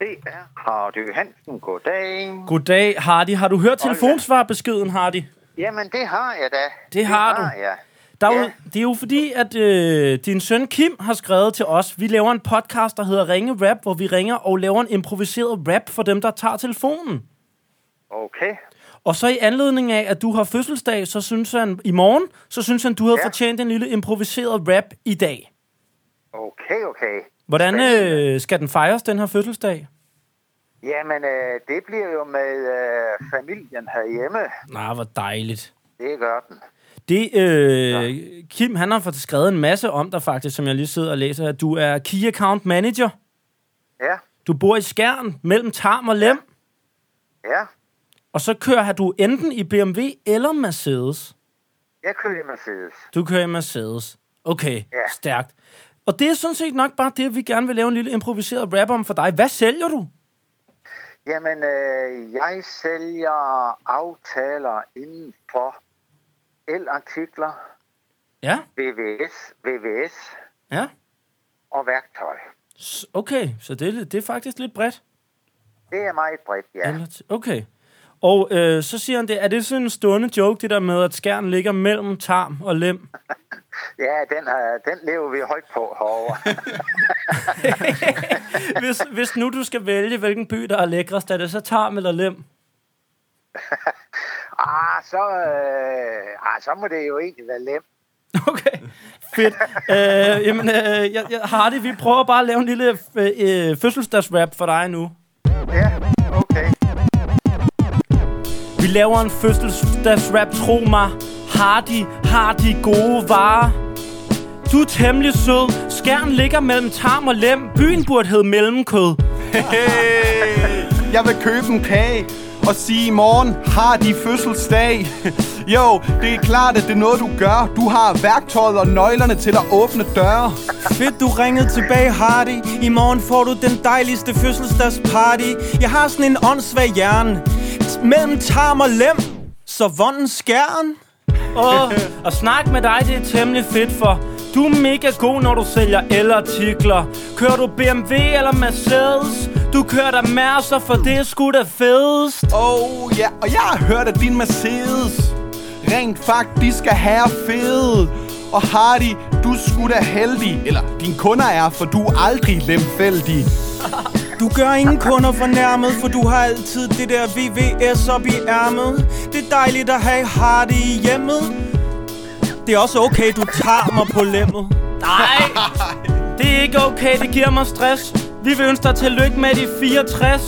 S8: Det er Hardy Hansen. Goddag.
S1: Goddag, Hardy. Har du hørt telefonsvarbeskeden, Hardy?
S8: Jamen, det har jeg da. Det,
S1: har du.
S8: jeg.
S1: Der er jo,
S8: Ja.
S1: det er jo fordi, at øh, din søn Kim har skrevet til os, vi laver en podcast, der hedder Ringe Rap, hvor vi ringer og laver en improviseret rap for dem, der tager telefonen.
S8: Okay.
S1: Og så i anledning af, at du har fødselsdag, så synes han, i morgen, så synes han, du havde ja.
S8: Ja.
S1: fortjent en lille improviseret rap i dag.
S8: Okay, okay.
S1: Hvordan øh, skal den fejres, den her fødselsdag?
S8: Jamen, øh, det bliver jo med øh, familien herhjemme.
S1: Nej, hvor dejligt.
S8: Det gør den.
S1: Det, øh, Kim, han har fået skrevet en masse om dig faktisk, som jeg lige sidder og læser her. Du er Key Account Manager.
S8: Ja,
S1: Du bor i Skjern, mellem Tarm og Lem.
S8: ja.
S1: Og så kører har du enten i BMW eller Mercedes.
S8: Jeg kører i Mercedes.
S1: Du kører i Mercedes. Okay, ja.
S8: Ja.
S1: stærkt. Og det er sådan set nok bare det, vi gerne vil lave en lille improviseret rap om for dig. Hvad sælger du?
S8: Jamen, øh, jeg sælger aftaler inden for elartikler,
S1: Ja,
S8: VVS, VVS
S1: ja.
S8: og værktøj.
S1: S- Okay, så det er, lidt- det er faktisk lidt bredt.
S8: Det er meget bredt, ja.
S1: Eller t- Okay. Og øh, så siger han det, er det sådan en stående joke, det der med, at skærmen ligger mellem tarm og lem?
S8: Ja, den, er, den lever vi højt på herovre.
S1: Hvis, hvis nu du skal vælge, hvilken by, der er lækrest, er det så tarm eller lem?
S8: ah, så, øh, ah, så må det jo egentlig være lem.
S1: Okay, fedt. øh, jamen, øh, jeg, jeg, Hardy, vi prøver bare at lave en lille øh, øh, fødselsdagsrap for dig nu.
S8: Ja, okay.
S1: Vi laver en fødselsdagsrap, tro mig. Har de, har de gode varer? Du er temmelig sød. Skærn ligger mellem tarm og lem. Byen burde hedde mellemkød.
S3: Hey, jeg vil købe en kage og sige, i morgen har de fødselsdag. Jo, det er klart, at det er noget, du gør. Du har værktøjet og nøglerne til at åbne døre.
S2: Fedt, du ringede tilbage, Hardy. I morgen får du den dejligste fødselsdagsparty. Jeg har sådan en åndssvag hjerne. T- Mellem tarm og lem, så vonden skæren.
S1: Åh, og snak med dig, det er temmelig fedt for Du er mega god, når du sælger elartikler Kører du BMW eller Mercedes? Du kører der Mercer, for det er sgu da fedest
S3: Oh ja, yeah. og jeg har hørt, at din Mercedes rent faktisk er herre fed. Og Hardy, du skulle da heldig. Eller, dine kunder er, for du er aldrig lemfældig.
S2: Du gør ingen kunder fornærmet, for du har altid det der VVS op i ærmet. Det er dejligt at have Hardy i hjemmet. Det er også okay, du tager mig på lemmet.
S1: Nej, det er ikke okay, det giver mig stress Vi vil ønske dig tillykke med de 64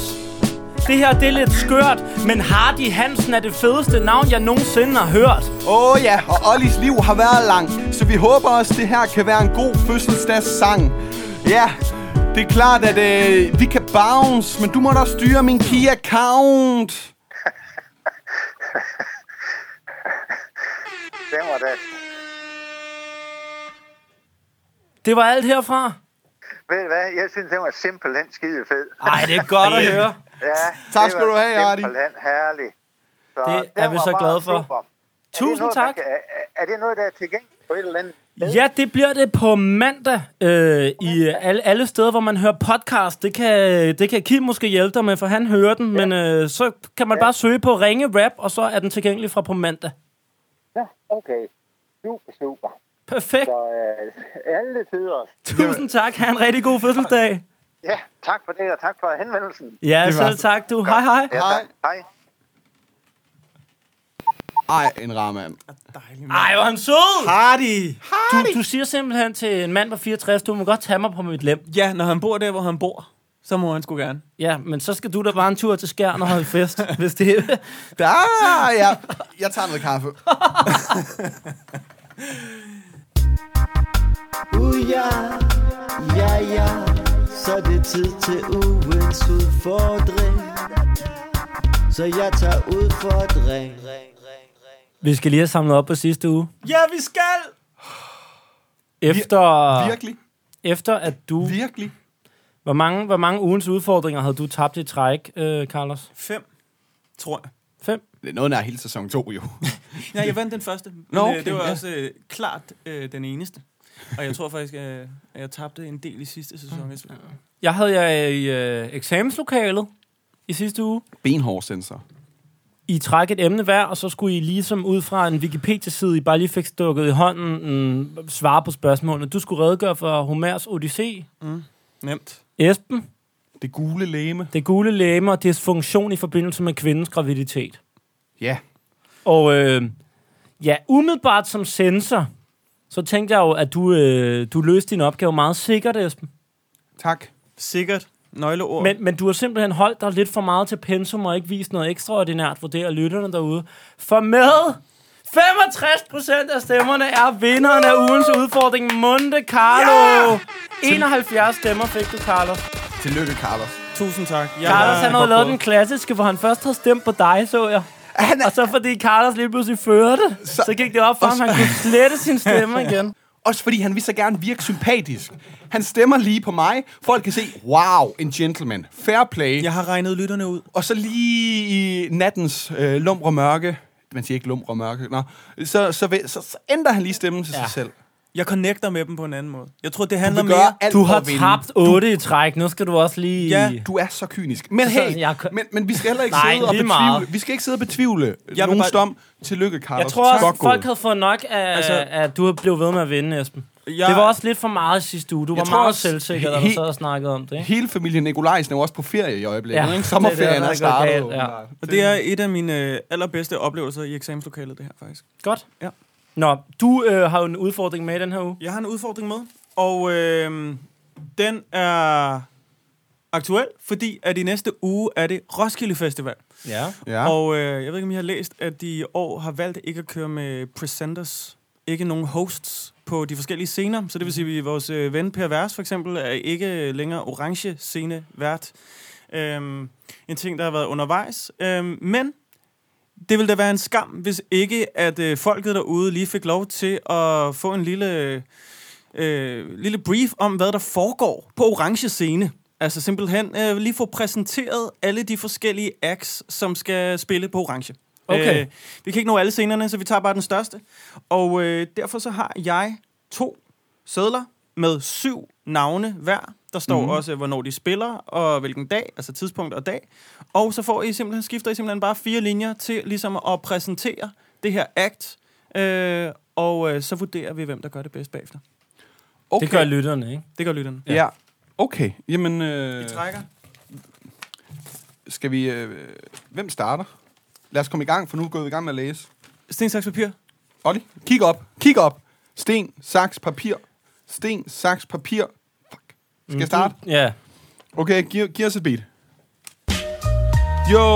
S1: det her, det er lidt skørt, men Hardy Hansen er det fedeste navn, jeg nogensinde har hørt.
S3: Åh oh, ja, og Ollis liv har været langt, så vi håber også, det her kan være en god fødselsdagssang. Ja, det er klart, at øh, vi kan bounce, men du må da styre min key-account.
S8: Det var det.
S1: Det var alt herfra.
S8: Ved du hvad? Jeg synes, det var simpelthen skide fed.
S1: Nej, det er godt at høre.
S8: Ja,
S3: Tak
S8: det
S3: skal
S8: var
S3: du have, Arti.
S8: Simpelthen herlig. Så
S1: Det
S8: den
S1: er vi
S8: var
S1: så
S8: bare
S1: glade for.
S8: super. Er
S1: Tusind
S8: det noget,
S1: tak.
S8: Der, kan- er, er det noget, der er tilgængeligt på et eller andet?
S1: Ja, det bliver det på mandag øh, i øh, alle, alle steder, hvor man hører podcast. Det kan, det kan Kim måske hjælpe dig med, for han hører den. Men øh, så kan man bare søge på Ringe Rap, og så er den tilgængelig fra på mandag.
S8: Ja, okay. Super, super.
S1: Perfekt.
S8: Så øh, alle tider.
S1: Tusind tak. Ha' en rigtig god fødselsdag.
S8: Ja, tak for det, og tak for henvendelsen.
S1: Ja, selv tak du. Hej, hej.
S8: Ja, tak. Hej.
S3: Ej, en rar mand.
S1: Ej, hvor han sød.
S2: Hardy!
S1: Du, du siger simpelthen til en mand på 64, du må godt tage mig på mit lem.
S2: Ja, når han bor der, hvor han bor, så må han sgu gerne.
S1: Ja, men så skal du da bare en tur til Skjern og holde fest, hvis det er...
S3: Der, ja. Jeg tager noget kaffe.
S9: Uh, ja, ja, ja, så er det tid til ugens udfordring. Så jeg tager udfordring.
S1: Vi skal lige have samlet op på sidste uge.
S2: Ja, vi skal!
S1: Efter,
S3: Virkelig,
S1: efter at du...
S3: virkelig.
S1: Hvor mange, hvor mange ugens udfordringer havde du tabt i træk, øh, Carlos?
S2: Fem, tror jeg.
S1: Fem?
S3: Det er noget nær hele sæson 2, jo.
S2: Nej, jeg vandt den første. Men,
S3: Nå,
S2: øh,
S3: okay,
S2: det var
S3: ja.
S2: også øh, klart øh, den eneste. Og jeg tror faktisk, øh, at jeg tabte en del i sidste sæson. Jeg
S3: Mm.
S2: tror.
S1: Jeg havde jeg i øh, eksamenslokalet i sidste uge.
S3: Benhård sensor.
S1: I trak et emne hver, og så skulle I ligesom ud fra en Wikipedia-side, I bare lige fik stukket i hånden, mm, svare på spørgsmålene. Du skulle redegøre for Homers Odyssee,
S2: Nemt.
S1: Esben,
S3: Mm, Det gule læme.
S1: det gule læme og dysfunktion i forbindelse med kvindens graviditet.
S3: Ja.
S1: Og øh, ja, umiddelbart som sensor, så tænkte jeg jo, at du, øh, du løste din opgave meget sikkert, Esben.
S3: Tak.
S2: Sikkert. Nøgleord. Men,
S1: Men, men du har simpelthen holdt dig lidt for meget til pensum og ikke vist noget ekstraordinært for det og lytterne derude. For med 65% af stemmerne er vinderen af ugens udfordring, Monte Carlo. Yeah! 71 stemmer fik du, Carlos.
S3: Tillykke, Carlos.
S2: Tusind tak. Jeg
S1: Carlos han havde
S2: var
S1: lavet
S2: på.
S1: den klassiske, hvor han først havde stemt på dig, så jeg.
S3: Han er
S1: Og så fordi Carlos lige pludselig førte, så, så gik det op for ham, han kunne slette sin stemme igen.
S3: Også fordi han vil så gerne virke sympatisk. Han stemmer lige på mig. Folk kan se, wow, en gentleman. Fair play. Ja.
S2: Jeg har regnet lytterne ud.
S3: Og så lige i nattens øh, lumre mørke, man siger ikke lumre mørke, nå, så, så, vil- så, så ændrer han lige stemmen til ja. sig selv.
S2: Jeg connecter med dem på en anden måde. Jeg tror, det handler
S3: vil gøre
S2: mere...
S3: alt
S1: Du
S3: for
S1: har
S3: at vinde.
S1: tabt 8 i træk, nu skal du også lige...
S2: Ja,
S3: Du er så kynisk. Men
S1: Så-
S3: hey,
S1: jeg kan-
S3: men, men vi skal heller ikke
S1: Nej,
S3: sidde og
S1: lige
S3: betvivle.
S1: meget.
S3: Vi skal ikke sidde og betvivle
S2: vil
S3: nogen
S2: bare-
S3: stom. Tillykke, Carlos.
S1: Jeg tror også,
S3: Godt
S1: at folk
S3: gået.
S1: havde fået nok af,
S2: Altså-
S1: altså, at du blev ved med at vinde, Esben.
S2: Jeg-
S1: Jeg, det var også lidt for meget i sidste uge. Du var
S3: tror
S1: meget
S3: også-
S1: selvsikker, da
S3: he-
S1: du sad og snakkede om det. Ikke?
S3: Hele familien Nikolajsen er jo også på ferie i øjeblikket.
S1: Ja,
S3: Ja, ikke?
S1: det er det, der
S3: Sommerferien
S1: er
S3: er altså-
S1: gået
S3: startet.
S1: galt, ja.
S3: åbenbart.
S2: Og det er et af mine øh, allerbedste oplevelser i eksamenslokalet, det her faktisk.
S1: Godt.
S2: Ja.
S1: Nå, du øh, har jo en udfordring med i den her uge.
S2: Jeg har en udfordring med, og øh, den er aktuel, fordi at i næste uge er det Roskilde Festival.
S1: Ja.
S6: Ja.
S2: Og øh, jeg ved ikke, om I har læst, at de i år har valgt ikke at køre med presenters, ikke nogen hosts på de forskellige scener. Så det vil sige, at vores øh, ven Per Vers for eksempel er ikke længere orange scene vært. Øhm, en ting, der har været undervejs. Øhm, men det ville da være en skam, hvis ikke at øh, folket derude lige fik lov til at få en lille, øh, lille brief om, hvad der foregår på orange scene. Altså simpelthen øh, lige få præsenteret alle de forskellige acts, som skal spille på orange.
S1: Okay.
S2: Øh, vi kan ikke nå alle scenerne, så vi tager bare den største. Og øh, derfor så har jeg to sædler med syv navne hver. Der står mm. også, hvornår de spiller, og hvilken dag, altså tidspunkt og dag. Og så får I simpelthen, skifter I simpelthen bare fire linjer til ligesom at præsentere det her act, øh, og øh, så vurderer vi, hvem der gør det bedst bagefter.
S1: Okay. Det gør lytterne, ikke?
S2: Det gør lytterne.
S3: Ja. ja. Okay, jamen... Øh,
S2: Vi trækker.
S3: skal vi... Øh, hvem starter? Lad os komme i gang, for nu går vi i gang med at læse.
S2: Sten, saks, papir.
S3: Olli, kig op. Kig op. Sten, saks, papir. Sten, saks, papir. Fuck. Skal jeg starte?
S1: Mm, Ja.
S3: Okay, giv, giv os et beat. Jo,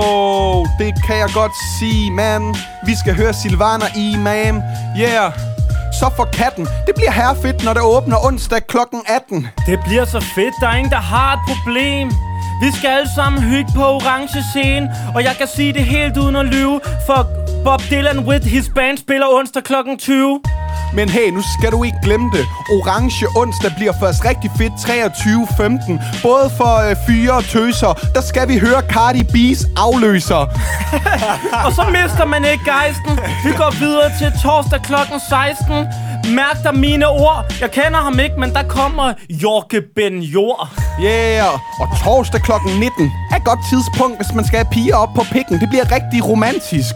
S3: det kan jeg godt sige, man. Vi skal høre Silvana Imam. Yeah. Så for katten. Det bliver her fedt, når det åbner onsdag kl. 18.
S1: Det bliver så fedt, der er ingen, der har et problem. Vi skal alle sammen hygge på orange scene, og jeg kan sige det helt uden at lyve, for Bob Dylan with his band spiller onsdag kl. 20.
S3: Men hey, nu skal du ikke glemme det. Orange onsdag bliver først rigtig fedt 23.15. Både for øh, fyre og tøser, der skal vi høre Cardi B's afløser.
S1: Og så mister man ikke gejsten. Vi går videre til torsdag kl. 16. Mærk dig mine ord. Jeg kender ham ikke, men der kommer Jorke Ben Jor.
S3: Yeah, og torsdag kl. 19 er et godt tidspunkt, hvis man skal have piger op på pikken. Det bliver rigtig romantisk.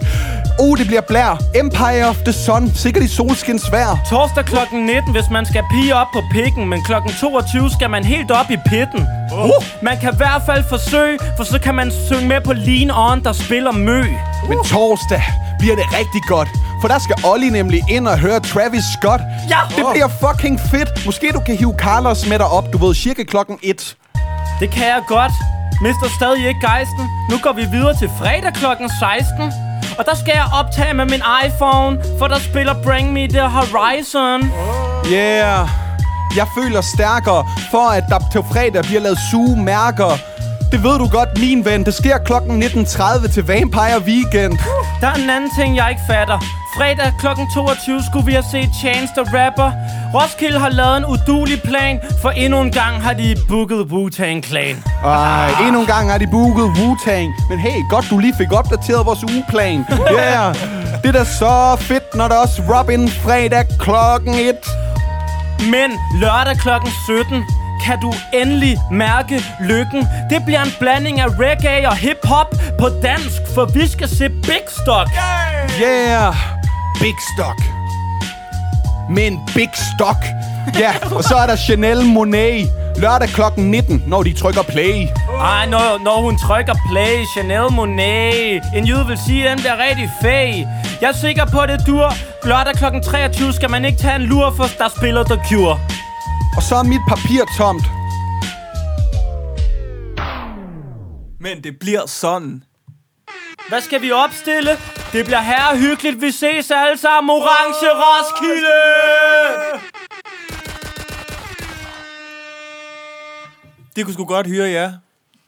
S3: Uh, det bliver blær. Empire of the Sun. Sikkert i solskins vejr.
S1: Torsdag kl. 19, hvis man skal pige op på pikken, men kl. 22 skal man helt op i pitten. Uh. Man kan i hvert fald forsøge, for så kan man synge med på Lean On, der spiller mø. Uh.
S3: Men torsdag bliver det rigtig godt. For der skal Olli nemlig ind og høre Travis Scott.
S1: Ja.
S3: Det bliver fucking fedt. Måske du kan hive Carlos med dig op. Du ved, cirka klokken 1.
S1: Det kan jeg godt. Mister stadig ikke gejsten. Nu går vi videre til fredag kl. 16. Og der skal jeg optage med min iPhone, for der spiller Bring Me The Horizon.
S3: Yeah. Jeg føler stærkere, for at der til fredag bliver lavet sugemærker. Det ved du godt, min ven. Det sker klokken 19.30 til Vampire Weekend.
S1: Der er en anden ting, jeg ikke fatter. Fredag kl. 22 skulle vi have set Chance the Rapper. Roskilde har lavet en udulig plan, for endnu en gang har de booket Wu-Tang Clan.
S3: Ej, endnu en gang har de booket Wu-Tang. Men hey, godt du lige fik opdateret vores ugeplan. Yeah. Det er da så fedt, når der også Robin fredag klokken 1.
S1: Men lørdag kl. 17 kan du endelig mærke lykken. Det bliver en blanding af reggae og hip-hop på dansk, for vi skal se Big Stock.
S3: Yeah. Big Stock. Men Big Stock. Ja, og så er der Chanel Monet. Lørdag klokken 19, når de trykker play.
S1: Ej, når, når hun trykker play, Chanel Monet. En jyde vil sige, at den bliver rigtig fag. Jeg er sikker på, at det dur. Lørdag kl. 23 skal man ikke tage en lur, for der spiller The Cure.
S3: Og så er mit papir tomt.
S2: Men det bliver sådan.
S1: Hvad skal vi opstille? Det bliver herre hyggeligt. Vi ses alle sammen. Orange Roskilde!
S2: Det kunne sgu godt hyre jer,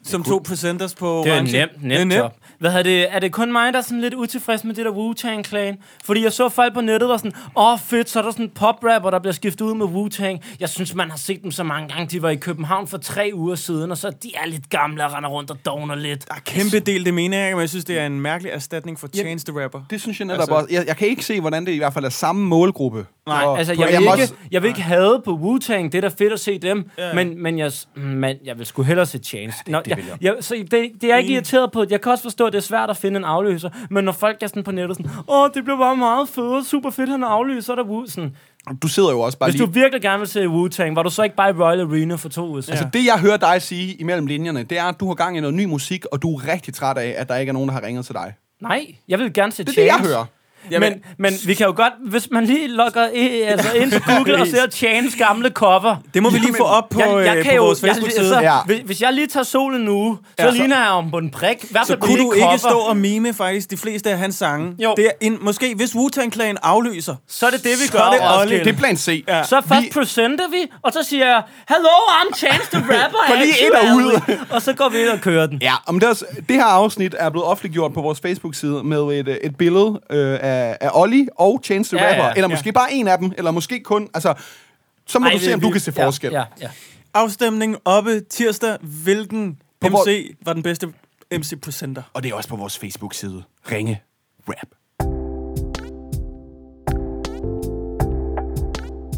S2: som to presenters på
S1: Det er
S2: orange.
S1: nemt,
S2: Det er
S1: nemt job. Hvad er det, er det kun mig, der er sådan lidt utilfreds med det der Wu-Tang Clan? Fordi jeg så folk på nettet var sådan, åh oh, fedt, så er der sådan en poprapper, der bliver skiftet ud med Wu-Tang. Jeg synes, man har set dem så mange gange. De var i København for tre uger siden, og så de er lidt gamle og render rundt og dogner lidt.
S2: Der er kæmpe del, det mener jeg ikke, men jeg synes, det er en mærkelig erstatning for Chance the Rapper.
S3: Det synes jeg netop
S2: Altså-
S3: altså, også. Jeg, jeg kan ikke se, hvordan det i hvert fald er samme målgruppe.
S2: Nej,
S3: Og-
S1: Altså,
S3: på-
S1: jeg vil,
S3: må
S1: ikke,
S3: også-
S1: jeg vil ikke have på Wu-Tang. Det er da fedt at se dem.
S2: Ja.
S1: Men, men jeg, s- men jeg vil sgu hellere se Chance. Nå,
S3: det
S1: jeg,
S3: vil jeg. Mm.
S1: jeg, så det, det er jeg ikke irriteret på. Jeg kan også forstå, at det er svært at finde en afløser. Men når folk er sådan på nettet sådan, åh, det blev bare meget fedt, super fedt, han er afløser, så er der Wu. Sådan,
S3: Du sidder jo også bare
S1: hvis
S3: lige...
S1: du virkelig gerne vil se Wu-Tang, var du så ikke bare i Royal Arena for to uger siden?
S3: Altså, det jeg hører dig sige imellem linjerne, det er, at du har gang i noget ny musik, og du er rigtig træt af, at der ikke er nogen, der har ringet til dig.
S1: Nej, jeg vil gerne se
S3: Det er
S1: Chance.
S3: det, jeg hører.
S1: Jamen, men, men vi kan jo godt, hvis man lige logger i, altså ind på Google og ser Chans gamle cover.
S2: Det må vi lige få op på, jeg, jeg på vores Facebook-side.
S1: Jeg,
S3: Ja.
S1: altså, hvis, hvis jeg lige tager solen nu, så
S2: Ja,
S1: ja,
S2: så-
S1: ligner jeg om på en prik. I hvert
S2: Så
S1: fald på
S2: kunne
S1: det
S2: du ikke
S1: cover.
S2: stå og mime faktisk de fleste af hans sange?
S1: Jo.
S2: Det er en, måske hvis Wu-Tang Clan aflyser,
S1: Så er det det, vi
S2: er
S1: gør,
S2: det Olli.
S1: Roskilde.
S3: Det er plan C. Ja.
S1: Så først vi... presenter vi, og så siger jeg, Hello, I'm Chance the Rapper.
S3: Få lige
S1: actually."
S3: ind og ud.
S1: og så går vi ind og kører den.
S3: Ja, om det, er også, det her afsnit er blevet offentliggjort på vores Facebook-side med et, øh, et billede øh, af, af Olli og Chance the
S1: Ja,
S3: Rapper.
S1: ja,
S3: eller
S1: ja.
S3: måske bare en af dem, eller måske kun... Altså, så må Ej, du se, om du kan se forskel.
S1: Ja, ja, ja.
S2: afstemning oppe tirsdag. Hvilken
S3: På hvor-
S2: MC var den bedste MC-presenter?
S3: Og det er også på vores Facebook-side. Ringe Rap.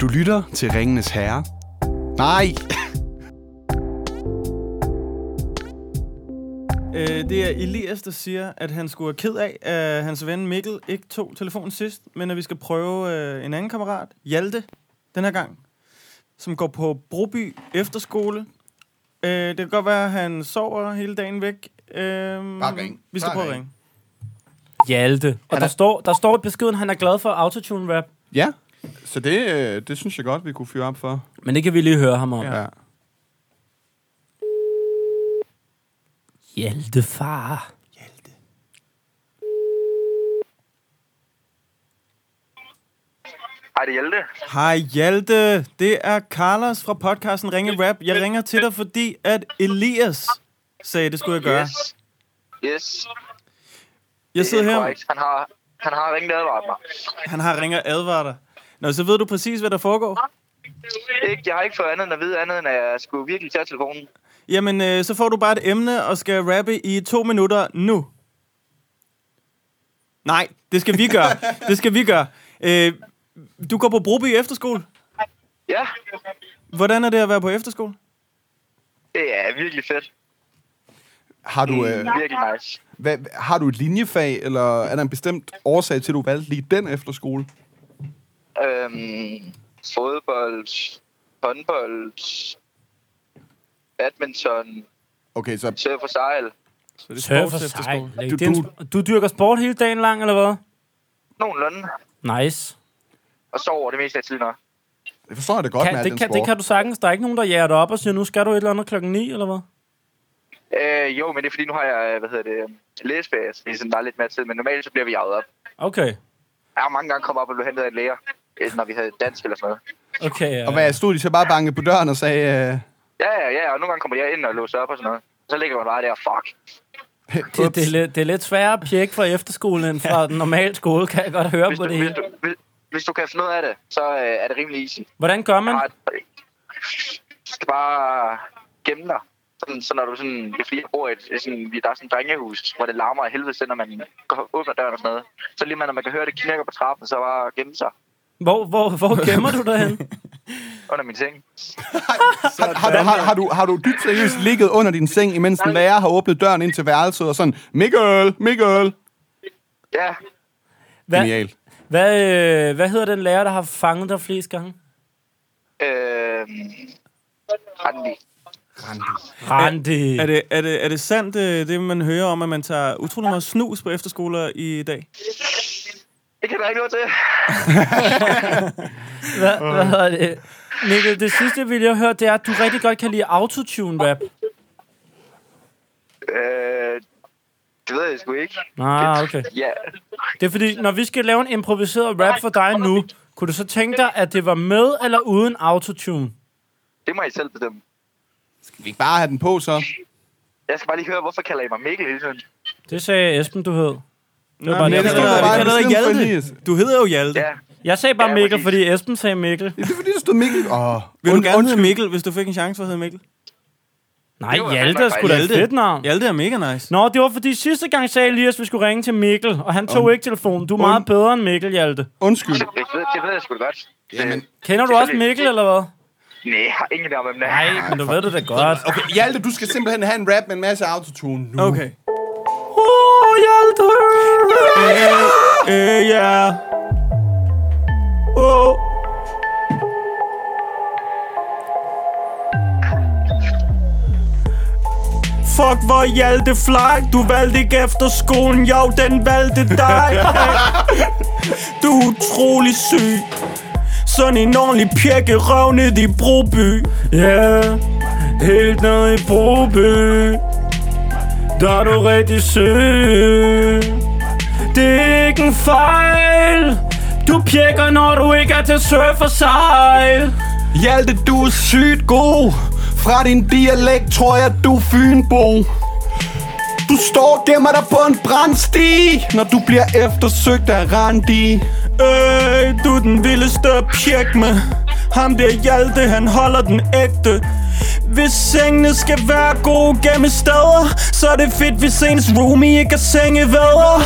S3: Du lytter til Ringenes Herre. Nej,
S2: Øh, det er Elias, der siger, at han skulle være ked af, at hans ven Mikkel ikke tog telefonen sidst, men at vi skal prøve øh, en anden kammerat, Hjalte, den her gang, som går på Broby Efterskole. Øh, det kan godt være, at han sover hele dagen væk. Øh,
S3: Bare ring.
S2: Vi skal
S3: Bare
S2: prøve at
S3: ring.
S2: ringe.
S1: Hjalte.
S3: Han
S1: Og
S3: er-
S1: der står, der står i beskeden, han er glad for autotune-rap.
S3: Ja, så det, øh, det synes jeg godt, vi kunne fyre op for.
S1: Men det kan vi lige høre ham om.
S3: Ja.
S1: Hjalte, far.
S9: Hej, det Hjelte.
S2: Hej Hjalte, det er Carlos fra podcasten Ringe Rap. Jeg ringer til dig, fordi at Elias sagde, det skulle jeg gøre.
S9: Yes,
S2: Jeg sidder her,
S9: korrekt. Han har, han har ringet advaret mig.
S2: han har ringer advaret dig. Nå, så ved du præcis, hvad der foregår?
S9: Ikke, jeg har ikke fået andet end at vide andet, end at jeg skulle virkelig tage telefonen.
S2: Jamen, øh, så får du bare et emne og skal rappe i to minutter nu. Nej, det skal vi gøre. Det skal vi gøre. Øh, du går på Broby Efterskole.
S9: Ja,
S2: Hvordan er det at være på efterskole?
S9: det er virkelig fedt.
S3: Har,
S9: Mm,
S3: du, øh,
S9: Virkelig nice.
S3: hvad, har du et linjefag, eller er der en bestemt årsag til, at du valgte lige den efterskole?
S9: Øhm, fodbold, håndbold, badminton,
S3: Okay, så
S9: surf og sejl.
S1: Surf og sej.
S2: sportsefterskole.
S1: Du, du, du dyrker sport hele dagen lang, eller hvad?
S9: Nogenlunde.
S1: Nice.
S9: Og sover det meste af tiden også.
S3: jeg forstår det godt med
S1: Kan,
S3: al den
S1: det, kan, det
S3: sport.
S1: kan du sagtens. Der er ikke nogen, der jager dig op og siger, nu skal du et eller andet klokken 9, eller hvad?
S9: Øh, jo, men det er fordi, nu har jeg, øh, hvad hedder det, øh, læsefag, så det er sådan, der er lidt mere tid, men normalt så bliver vi jaget op.
S1: Okay.
S9: Jeg har mange gange kommet op og blevet hentet af en læger, øh, når vi havde dansk eller sådan noget.
S1: Okay, øh. ja.
S3: Og hvad, stod de så bare banket på døren og sagde... Øh,
S9: Ja, ja, ja, og nogle gange kommer jeg ind og låser op og sådan noget. Så ligger man bare der, fuck.
S1: det, det, er lidt, det er lidt sværere at pjekke fra efterskolen end fra den normale skole, kan jeg godt høre
S9: Hvis
S1: på
S9: du,
S1: det
S9: hvis,
S1: hele.
S9: du, hvis, hvis du kan finde ud af det, så øh, er det rimelig easy.
S1: Hvordan gør man?
S9: Bare, du skal bare gemme dig. Sådan, så når du sådan, det er fordi, jeg bor i et, sådan, vi- der er sådan et drengehus, hvor det larmer af helvede, til, når man går, åbner døren og sådan noget. Så lige man, når man kan høre, det knirker på trappen, så bare gemme sig
S1: Hvor, hvor, hvor gemmer du dig hen?
S9: under min seng.
S3: har, har, du, har, har, du, har du dybt seriøst ligget under din seng, imens den lærer har åbnet døren ind til værelset og sådan... Mikkel! Mikkel!
S9: Ja,
S1: Hvad,
S3: Genial.
S1: hvad, øh, hvad hedder den lærer, der har fanget dig flest gange?
S9: øh, Randi.
S1: Randi.
S2: Er det, er det, er det sandt, øh, det man hører om, at man tager utrolig meget snus på efterskoler i dag?
S9: Det kan der ikke noget til.
S1: Hvad, hvad hedder det? Mikkel, det sidste, jeg ville høre, det er, at du rigtig godt kan lide autotune-rap.
S9: Øh, det ved jeg sgu ikke.
S1: Ah, okay.
S9: Ja,
S1: Det er fordi, når vi skal lave en improviseret rap for dig nu, kunne du så tænke dig, at det var med eller uden autotune?
S9: det må I selv bestemme.
S3: Skal vi ikke bare have den på, så?
S9: Jeg skal bare lige høre, hvorfor kalder I mig Mikkel hele tiden?
S1: Det sagde Esben, du hed. Det var
S2: Nej,
S1: bare
S2: men
S1: det,
S2: det
S3: stod der
S1: jeg,
S3: bare i
S2: hedder- det
S3: beskeden for
S2: hedder
S3: Elias.
S2: Hjalte. Du hedder jo Hjalte.
S9: Ja,
S1: jeg sagde bare
S9: Ja,
S1: Mikkel,
S9: præcis.
S1: fordi Esben sagde Mikkel.
S3: Ja, det er fordi, der stod Mikkel. Åh,
S2: Vil du
S3: und-
S2: gerne hedde
S3: undskyld.
S2: Mikkel, hvis du fik en chance for at hedde Mikkel?
S1: Nej,
S9: Det var
S1: Hjalte er
S9: faktisk
S1: sgu da et
S2: Hjalte.
S1: fedt navn.
S2: Hjalte er mega nice.
S1: Nå, det var fordi sidste gang sagde Elias, at vi skulle ringe til Mikkel, og han tog ikke telefonen. Du er meget bedre end Mikkel, Hjalte.
S3: Undskyld.
S9: det ved, det ved jeg sgu da godt.
S3: Jamen,
S1: Kender du også Mikkel, eller hvad?
S9: Nej, jeg har ingen idé om, hvem det er.
S1: Nej, men du ved det da godt.
S3: Okay, Hjalte, du skal simpelthen have en rap med en masse autotune nu.
S2: Okay.
S1: Åh, Hjalte!
S2: Øh, ja. Åh. Fuck, hvor Hjalte flak Du valgte ikke efter skolen Jo, den valgte dig Du er utrolig syg Sådan en ordentlig pjekke røv ned i Broby
S1: Ja, yeah, helt ned i Broby Der er du rigtig sød Det er ikke en fejl Du pjekker, når du ikke er til surf og sejl
S3: Hjalte, du er sygt god. Fra din dialekt tror jeg, du er fynbo. Du står og gemmer dig på en brandsti, når du bliver eftersøgt af Randi.
S2: Øh, du er den vildeste at pjekke med Ham der Hjalte, han holder den ægte Hvis sengene skal være gode gennem steder Så er det fedt, hvis ens roomie ikke er sengevædder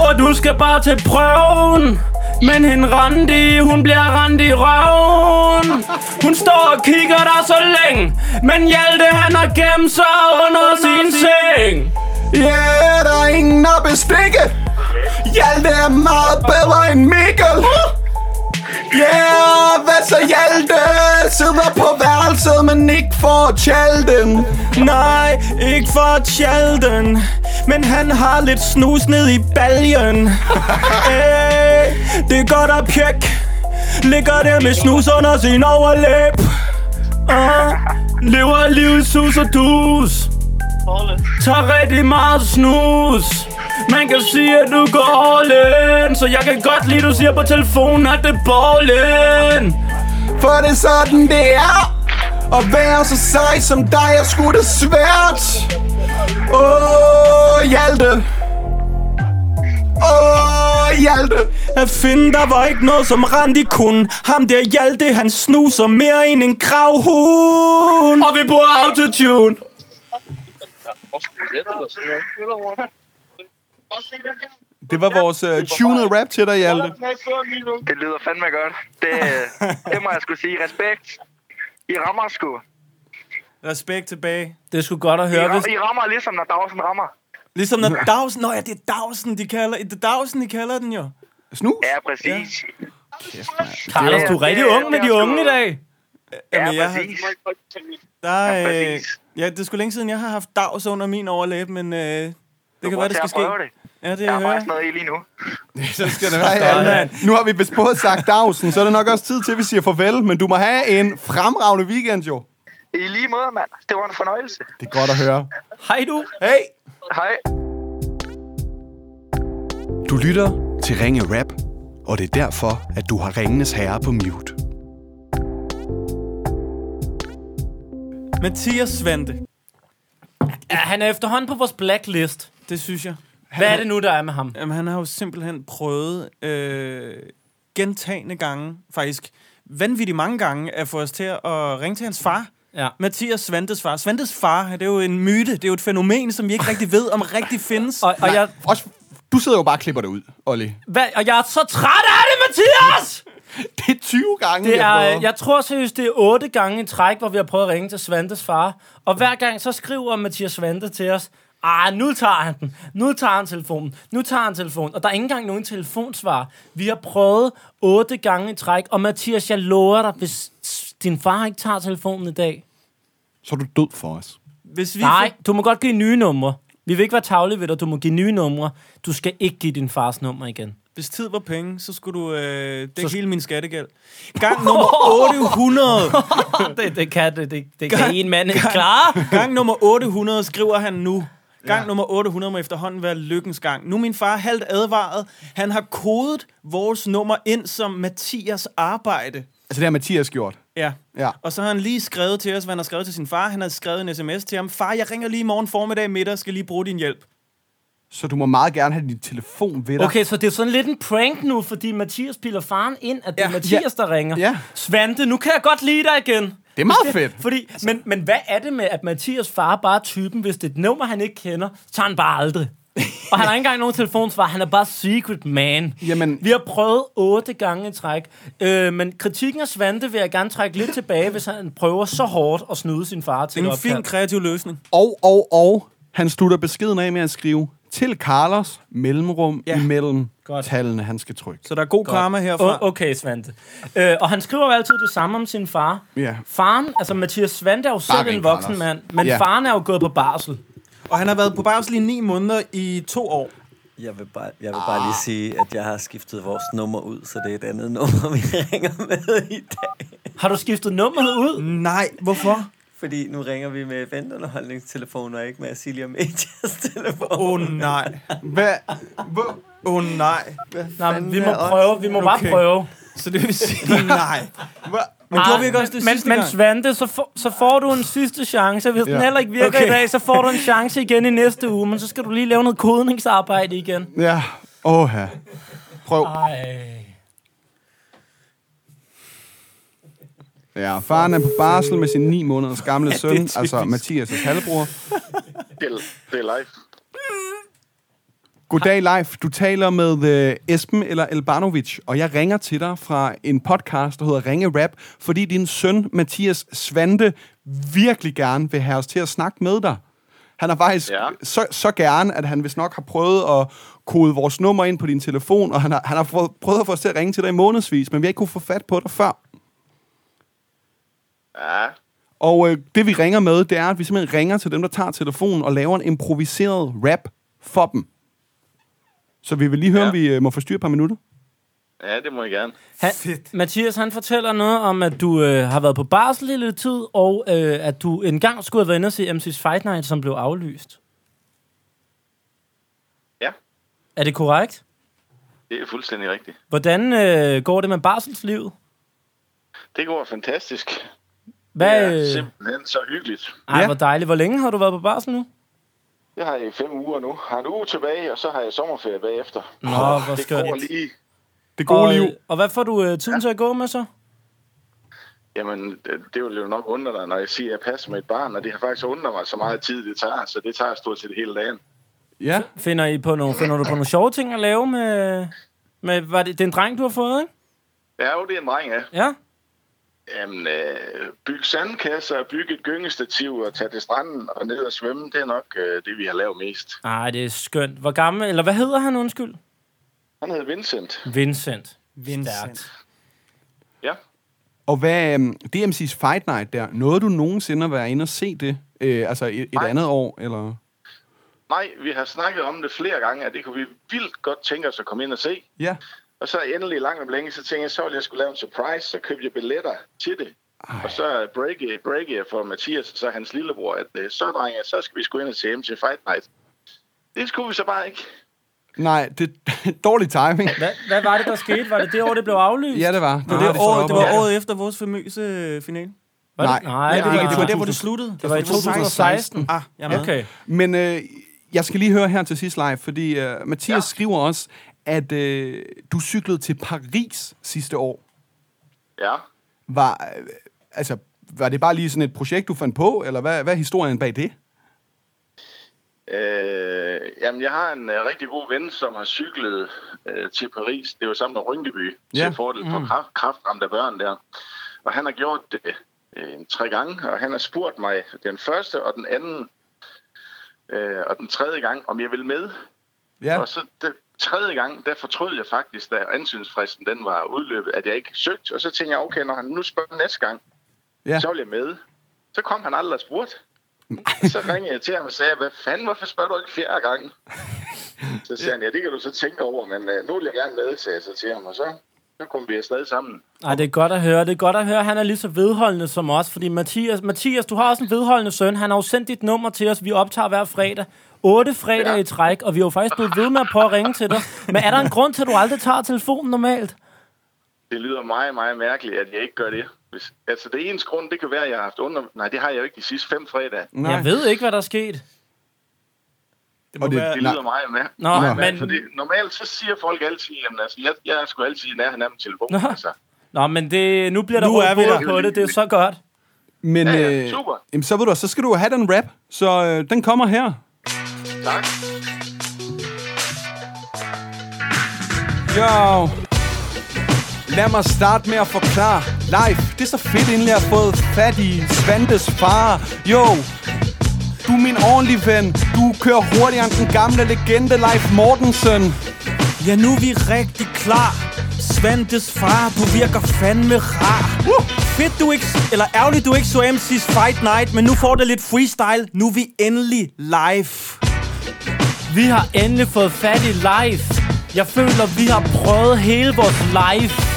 S1: Og du skal bare til prøven men hende Randi, hun bliver Randi i røven Hun står og kigger der så længe Men Hjalte han har gemt sig under sin seng
S3: Ja, yeah, der er ingen at bestikke. Hjalte er meget bedre end Mikkel. Ja, yeah, hvad så Hjalte? Sidder på værelset, men ikke for tjalten.
S2: Nej, ikke for Sheldon Men han har lidt snus ned i baljen hey, Det er godt at pjek Ligger der med snus under sin overlæb uh,
S1: Lever livet sus og dus Tager rigtig meget snus man kan sige, at du går all in Så jeg kan godt lide, du siger på telefonen, at det er ballen
S3: For det er sådan, det er. At være så sej som dig er sgu da svært. Åh, Hjalte. Åh, Hjalte.
S2: At finde, der var ikke noget som Randi kunne Ham der Hjalte, han snuser mere end en gravhund
S1: Og vi bruger autotune
S5: Det var vores
S3: øh,
S5: uh, tunet rap til dig, Hjalte.
S9: Det lyder fandme godt. Det, det må jeg skulle sige. Respekt. I rammer sgu.
S2: Respekt tilbage
S1: Det er sgu godt at
S9: I,
S1: høre, hvis...
S9: ra- I rammer ligesom, når Dagsen rammer.
S2: Ligesom når Dagsen Nå ja, det er Dagsen, de kalder, det er Dagsen, de kalder den jo
S3: Snus?
S9: Ja, præcis.
S1: Carlos, du er
S9: Ja,
S1: rigtig
S9: det-
S1: ung
S9: det
S1: med
S9: er
S1: de
S9: sgu-
S1: unge i dag.
S9: Ja,
S2: Jamen, jeg har-
S9: præcis.
S2: Der,
S9: Ja,
S2: øh,
S9: præcis.
S2: ja, det er sgu længe siden, jeg har haft dags under min overlæb Men øh, det kan være, det skal ske
S9: Det.
S2: Ja, det
S9: Jeg
S2: er
S9: har
S2: hører
S9: faktisk
S2: jeg.
S9: noget i lige nu.
S3: Så skal det være Hjalte. Nu har vi vist både sagt dagsen, så er det nok også tid til, at vi siger farvel. Men du må have en fremragende weekend, jo.
S9: I lige måde, mand. Det var en fornøjelse.
S3: Det er godt at høre.
S1: Hej du.
S3: Hey!
S9: Hej.
S3: Du lytter til Ringe Rap, og det er derfor, at du har Ringenes Herre på mute.
S2: Mathias Svante,
S1: Ja, han er efterhånden på vores blacklist.
S2: det synes jeg
S1: Hvad er det nu, der er med ham?
S2: Jamen, han har jo simpelthen prøvet øh, gentagende gange, faktisk vanvittigt mange gange, at få os til at ringe til hans far.
S1: Ja.
S2: Mathias Svantes far. Svantes far, det er jo en myte, det er jo et fænomen, som vi ikke rigtig ved, om rigtig findes.
S1: Og, og, jeg,
S3: Også, du sidder jo bare og klipper det ud, Olli.
S1: hvad, og jeg er så træt af det, Mathias!
S3: Det er 20 gange,
S1: Det
S3: jeg
S1: er,
S3: prøver.
S1: jeg tror seriøst, det er otte gange i træk, hvor vi har prøvet at ringe til Svantes far. Og hver gang så skriver Mathias Svante til os, ah, nu tager han den. Nu tager han telefonen. Nu tager han telefonen. Og der er ikke engang nogen telefonsvar. Vi har prøvet otte gange i træk. Og Mathias, jeg lover dig, hvis din far ikke tager telefonen i dag.
S3: Så er du død for os.
S2: Hvis vi
S1: Nej, du må godt give nye numre. Vi vil ikke være tavlige ved dig, du må give nye numre. Du skal ikke give din fars nummer igen.
S2: Hvis tid var penge, så skulle du øh, dække hele min skattegæld. Gang nummer 800.
S1: det, det kan det, det, det kan en mand ikke klare.
S2: Gang nummer 800 skriver han nu. Gang ja. nummer 800 må efterhånden være lykkens gang. Nu er min far halvt advaret. Han har kodet vores nummer ind som Mathias arbejde.
S3: Altså, det har Mathias gjort.
S2: Ja.
S3: Ja.
S2: Og så har han lige skrevet til os, hvad han har skrevet til sin far. Han har skrevet en sms til ham. Far, jeg ringer lige i morgen formiddag middag, skal lige bruge din hjælp.
S3: Så du må meget gerne have din telefon ved dig.
S1: Okay, så det er sådan lidt en prank nu, fordi Mathias piller faren ind, at det ja, er
S2: Ja.
S1: Mathias, der ringer.
S3: Ja.
S1: Svante, nu kan jeg godt lide dig igen.
S3: Det er meget fedt. Altså.
S1: Fordi, men, men hvad er det med, at Mathias far bare er typen, hvis det er et nummer, han ikke kender, så tager han bare aldrig. Og han har ikke engang nogen telefonsvar, han er bare secret man.
S3: Jamen-
S1: Vi har prøvet otte gange i træk, øh, men kritikken af Svante vil jeg gerne trække lidt tilbage, hvis han prøver så hårdt at snude sin far til
S2: Det er en
S1: et opkald.
S2: fin kreativ løsning.
S3: Og, og, og, han slutter beskeden af med at skrive, til Carlos mellemrum ja. imellem
S1: Godt.
S3: tallene, han skal trykke.
S2: Så der er god
S1: Godt.
S2: karma herfra.
S1: O- okay, Svante. Øh, og han skriver jo altid det samme om sin far.
S3: Ja.
S1: Faren, altså Mathias Svante er jo selv
S3: ring,
S1: en voksen
S3: Anders.
S1: mand, men
S3: Ja.
S1: ja. faren er jo gået på barsel.
S2: Og han har været på barsel i 9 måneder i to år.
S10: Jeg vil, bare, jeg vil bare lige
S2: Ah.
S10: sige, at jeg har skiftet vores nummer ud, så det er et andet nummer, vi ringer med i dag.
S1: Har du skiftet nummeret ud?
S2: Nej, hvorfor?
S10: Fordi nu ringer vi med eventunderholdningstelefonen, og ikke med Silja Medias telefon.
S2: Åh oh, nej.
S11: Hvad? Hvor?
S2: Åh oh, nej.
S1: Nej, vi må
S11: er også-
S1: prøve, vi må okay. bare
S2: Okay.
S1: prøve.
S2: Så det vil sige nej.
S11: Hva?
S2: Men gjorde vi ikke også det
S1: Ah, men,
S2: sidste
S1: men
S2: gang?
S1: Svante, så, for, så får du en sidste chance. Hvis ja. den heller ikke virker okay.
S2: Okay.
S1: i dag, så får du en chance igen i næste uge, men så skal du lige lave noget kodningsarbejde igen.
S11: Ja. Åh, ja. Prøv.
S1: Ej.
S3: Ja, faren er på barsel med sin 9 måneders gamle søn, altså Mathias' halvbror.
S12: Det, det er live.
S3: Goddag, Leif. Du taler med øh, Esben eller Elbanovic, og jeg ringer til dig fra en podcast, der hedder Ringe Rap, fordi din søn, Mathias Svante, virkelig gerne vil have os til at snakke med dig. Han har faktisk ja.
S12: Ja.
S3: så, så gerne, at han vist nok har prøvet at kode vores nummer ind på din telefon, og han har, han har fået- prøvet at få os til at ringe til dig i månedsvis, men vi har ikke kunne få fat på dig før.
S12: Ja,
S3: Og øh, det vi ringer med, det er, at vi simpelthen ringer til dem, der tager telefonen og laver en improviseret rap for dem. Så vi vil lige høre, ja.
S12: Ja.
S3: om vi øh, må forstyrre et par minutter.
S12: ja det må jeg gerne.
S1: Han, Mathias, han fortæller noget om, at du øh, har været på barsel i lidt tid, og øh, at du engang skulle have været inde og se MC's Fight Night, som blev aflyst.
S12: Ja,
S1: Er det korrekt?
S12: det er fuldstændig rigtigt.
S1: Hvordan øh, går det med barselslivet?
S12: Det går fantastisk.
S1: Hvad,
S12: Det er
S1: øh,
S12: simpelthen så hyggeligt.
S1: ej,
S3: Ja.
S1: hvor dejligt. Hvor længe har du været på barsel nu?
S12: Jeg har i fem uger nu. Har en uge tilbage, og så har jeg sommerferie bagefter.
S1: Nå, hvor
S12: det
S1: skønt.
S12: går lige.
S3: Det gode
S1: Og,
S3: liv.
S1: og hvad får du øh, tiden ja. til at gå med så?
S12: Jamen, det, det vil jo nok undre dig, når jeg siger, at jeg passer med et barn, og det har faktisk undret mig så meget tid, det tager, så det tager stort set hele dagen.
S3: Ja.
S1: Finder, I på nogle, finder du på nogle sjove ting at lave med... med var det, det er en dreng, du har fået, ikke?
S12: Ja, jo, det er en dreng af.
S1: Ja.
S12: Jamen, øh, bygge sandkasser, bygge et gyngestativ og tage til stranden og ned og svømme, det er nok øh, det, vi har lavet mest.
S1: Ej, det er skønt. Hvor gammel... Eller hvad hedder han, undskyld?
S12: Han hedder Vincent.
S1: Vincent.
S2: Vincent.
S12: Ja.
S3: Og hvad, øh, DMC's Fight Night der, nåede du nogensinde at være inde og se det? Øh, altså et, et
S12: Nej.
S3: andet år, eller?
S12: Nej, vi har snakket om det flere gange, at det kunne vi vildt godt tænke os at komme ind og se.
S3: Ja.
S12: Og så endelig langt om længe, så tænkte jeg, så ville jeg skulle lave en surprise, så købte jeg billetter til det. Ej. Og så breakede break jeg for Mathias, så hans lillebror, at øh, så drenge, så skal vi sgu ind og se MC Fight Night. Det skulle vi så bare ikke.
S3: Nej, det dårlig timing.
S1: Hvad, hvad var det, der skete? Var det det år, det blev aflyst?
S3: Ja, det var.
S2: Det,
S3: var
S2: var det, år,
S3: stopper.
S2: det var året efter vores famøse øh, finale.
S1: Var det?
S3: Nej.
S1: Nej,
S2: det, var, det var der, hvor
S1: 2000.
S2: det sluttede.
S1: Det var i 2016.
S2: Ah, jeg er med.
S1: Okay.
S3: Men øh, jeg skal lige høre her til sidst, live, fordi øh, Mathias ja. skriver også, at øh, du cyklede til Paris sidste år.
S12: Ja.
S3: Var, øh, altså, var det bare lige sådan et projekt, du fandt på, eller hvad, hvad er historien bag det?
S12: Øh, jamen, jeg har en øh, rigtig god ven, som har cyklet øh, til Paris. Det var sammen med Rynkeby
S3: Ja.
S12: ja. Mm. til fordel for kraft, kraftramte børn der. Og han har gjort det øh, en tre gange, og han har spurgt mig den første og den anden øh, og den tredje gang, om jeg vil med. Ja. Og så den tredje gang, der fortrød jeg faktisk, da ansøgningsfristen den var udløbet, at jeg ikke søgte. Og så tænkte jeg, okay, når han nu spørger næste gang,
S3: Ja.
S12: ja. så vil jeg med. Så kom han aldrig og spurgte. Så ringede jeg til ham og sagde, hvad fanden, hvorfor spørger du ikke fjerde gang? Så sagde han, ja, det kan du så tænke over, men øh, nu vil jeg gerne med, sagde jeg så til ham, og så, så kom vi afsted sammen.
S1: Ej, det er godt at høre. Det er godt at høre. Han er lige så vedholdende som os, fordi Mathias, Mathias, du har også en vedholdende søn. Han har jo sendt dit nummer til os. Vi optager hver fredag. Otte fredage ja.
S12: Ja.
S1: i træk, og vi har jo faktisk blevet ved med at prøve at ringe til dig. Men er der en grund til, at du aldrig tager telefonen normalt?
S12: Det lyder meget, meget mærkeligt, at jeg ikke gør det. Hvis, altså, det eneste grund, det kan være, at jeg har haft under... Nej, det har jeg jo ikke de sidste fem fredage.
S1: Nej. Jeg ved ikke, hvad der er sket.
S2: Det må
S3: Og det-
S2: være...
S12: Det lyder meget mærkeligt.
S1: Nå, Nå. men-
S12: Fordi normalt så siger folk altid, jamen altså, jeg, jeg er sgu altid i nærheden af min telefon.
S1: Nå.
S12: Altså.
S1: Nå, men det, nu bliver der
S2: Nu er
S1: råd
S2: vi
S1: på,
S2: der.
S1: på det. Det er så godt.
S3: Men
S12: Ja, ja, super.
S3: Øh, jamen, så ved du, så skal du have den rap, så øh, den kommer her.
S12: Tak.
S3: Jo. Lad mig starte med at forklare Live, det er så fedt, inden jeg har fået fat i Svantes far Jo Du er min ordentlige ven. Du kører hurtigere end den gamle legende Leif Mortensen.
S2: Ja, nu er vi rigtig klar. Svantes far, du virker fandme rar. Uh! Fedt du ikke, eller ærgerligt du ikke så MC's Fight Night, men nu får det lidt freestyle. Nu er vi endelig live.
S1: Vi har endelig fået fat i live. Jeg føler, vi har prøvet hele vores life.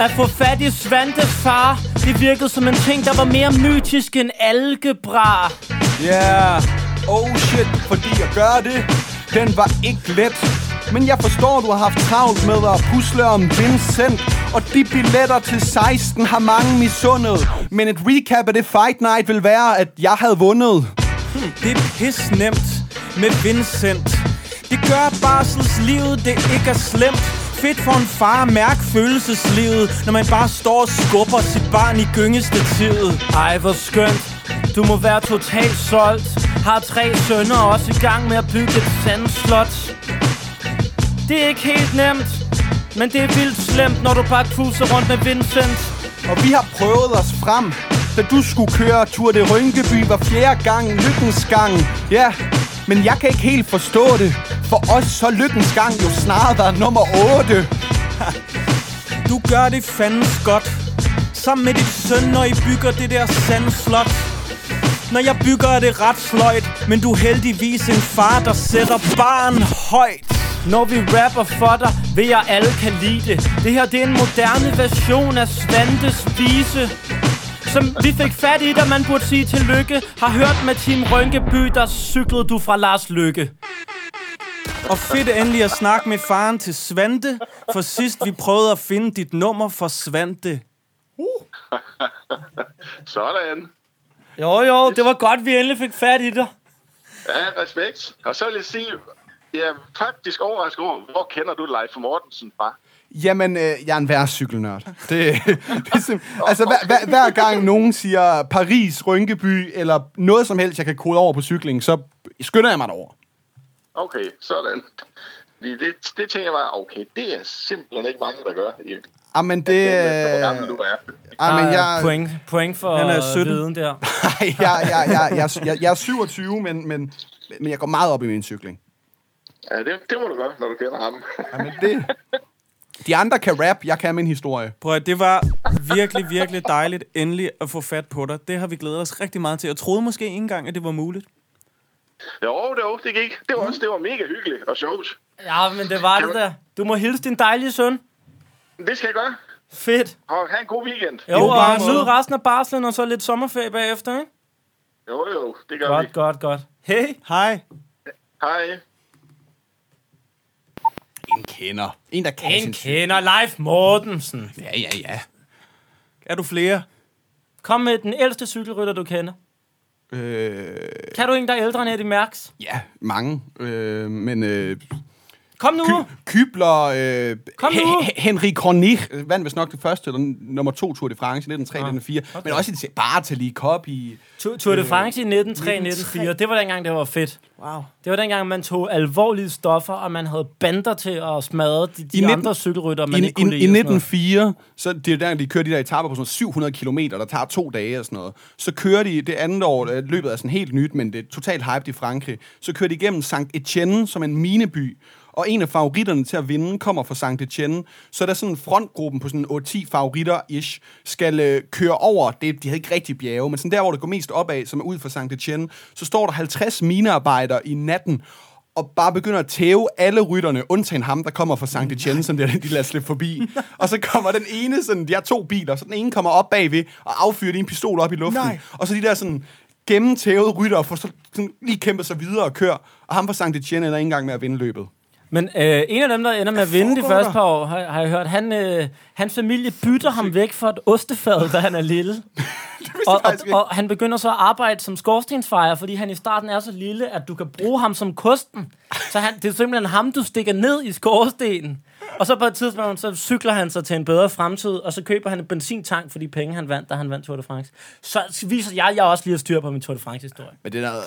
S1: At få fat i Svante far, det virkede som en ting, der var mere mytisk end algebra.
S3: Yeah. Oh shit, fordi at gøre det, den var ikke let. Men jeg forstår, du har haft travlt med at pusle om Vincent. Og de billetter til 16 har mange misundet. Men et recap af det Fight Night vil være, at jeg havde vundet.
S2: Det er pis nemt med Vincent. Det gør barselslivet, det ikke er slemt. Fedt for en far at mærke følelseslivet, når man bare står og skubber sit barn i gyngestativet.
S1: Ej, hvor skønt. Du må være totalt solgt. Har tre sønner og også i gang med at bygge et sandslot. Det er ikke helt nemt, men det er vildt slemt, når du bare tuser rundt med Vincent.
S3: Og vi har prøvet os frem. Da du skulle køre Tour de Rynkeby var fjerde gang lykkens gang. Ja, men jeg kan ikke helt forstå det. For os så er lykkens gang jo snarere været nummer 8.
S2: Du gør det fandens godt. Sammen med dit søn, når I bygger det der sandslot. Når jeg bygger, er det ret sløjt, men du er heldigvis en far, der sætter barn højt.
S1: Når vi rapper for dig, ved jeg alle kan lide det Det her det er en moderne version af Svantes vise Som vi fik fat i, da man burde sige tillykke Har hørt med Team Rønkeby, der cyklede du fra Lars Lykke
S2: Og fedt endelig at snakke med faren til Svante, for sidst vi prøvede at finde dit nummer for Svante.
S12: Sådan.
S1: Jo jo, det var godt, vi endelig fik fat i dig
S12: Ja, respekt. Og så vil jeg sige, jeg er faktisk overrasket over, hvor kender du Leif Mortensen fra?
S3: Jamen, øh, jeg er en værre cykelnørd. Det, det er simp- altså, hver, hver, hver gang nogen siger Paris, Rynkeby eller noget som helst, jeg kan kode over på cykling, så skynder jeg mig derover.
S12: Okay, sådan. Fordi det, det tænker jeg bare, okay, det er simpelthen ikke mange, der gør. i-
S3: Jamen, det... Øh,
S12: Hvor gammel du er.
S3: jamen,
S1: Ah,
S3: jeg,
S1: point, point for
S2: Han er 17.
S1: viden der
S3: jeg, jeg, jeg, jeg, jeg, jeg er 27, men, men, men jeg går meget op i min cykling.
S12: Ja, det, det må du gøre, når du kender ham.
S3: Jamen, det... De andre kan rap, jeg kan min historie.
S2: Prøv at, det var virkelig, virkelig dejligt endelig at få fat på dig. Det har vi glædet os rigtig meget til. Jeg troede måske ikke engang, at det var muligt.
S12: Jo, jo, det gik. Det var også det var mega hyggeligt og sjovt.
S1: Ja, men det var det der Du må hilse din dejlige søn
S12: Det skal jeg gøre.
S1: Fedt
S12: Og have en god weekend.
S1: Jo,
S2: Jo,
S1: og
S2: bare
S1: nyd
S2: måde.
S1: resten af barslen og så lidt sommerferie bagefter, ikke?
S12: Jo, jo, det gør vi.
S1: Godt, godt, godt Hey
S2: Hej.
S12: Hej.
S3: En kender. En, der kan
S1: En kender Leif Mortensen
S3: Ja, ja, ja.
S2: Er du flere?
S1: Kom med den ældste cykelrytter, du kender
S3: Øh,
S1: Kan du en, der er ældre end Eddie Mærks?
S3: ja, mange. Øh, men øh,
S1: Kom nu!
S3: Ky- Kybler, øh,
S1: Kom nu.
S3: H- H- Henrik Hornig øh, vandt vist nok det første, eller n- nummer to Tour de France i 1903 1904, men også i Bartali Cup i... Øh,
S1: Tour, Ah, Tour de France i 1903-1904, det var dengang, det var fedt.
S2: Wow.
S1: Det var dengang, man tog alvorlige stoffer, og man havde bander til at smadre de, de
S3: I nitten-
S1: andre cykelrytter,
S3: I, i,
S1: man
S3: i
S1: ikke kunne lide. og sådan noget.
S3: 1904, så det er der, de kører de der etaper på sådan noget 700 km, der tager to dage og sådan noget. Så kører de det andet år, øh, løbet er sådan helt nyt, men det er totalt hyped i Frankrig. Så kører de igennem St. Etienne, som er en mineby, og en af favoritterne til at vinde kommer fra St. Etienne. Så er der sådan frontgruppen på sådan 8-10 favoritter-ish, skal øh, køre over, det, de havde ikke rigtig bjerge, men sådan der, hvor det går mest opad, som er ud fra St. Etienne, så står der 50 minearbejdere i natten, og bare begynder at tæve alle rytterne, undtagen ham, der kommer fra Sankt Etienne, som det er den, de lader slippe forbi. og så kommer den ene, sådan, de har to biler, så den ene kommer op bagved og affyrer lige en pistol op i luften. Nej. Og så de der sådan gennemtævede rytter får så sådan, lige kæmpet sig videre og kører. Og ham fra Sankt Etienne ender ikke engang med at vinde løbet.
S1: Men øh, en af dem, der ender med at vinde de første par år, har, har jeg hørt, han, øh, hans familie bytter ham væk for et ostefad, da han er lille. og, og,
S3: faktisk ikke.
S1: og han begynder så at arbejde som skorstensfejer, fordi han i starten er så lille, at du kan bruge ham som kosten. Så han, det er simpelthen ham, du stikker ned i skorstenen. Og så på et tidspunkt, så cykler han sig til en bedre fremtid, og så køber han en benzintank for de penge, han vandt, da han vandt Tour de France. Så viser jeg, jeg også lige har styr på min Tour de France-historie.
S3: Men det har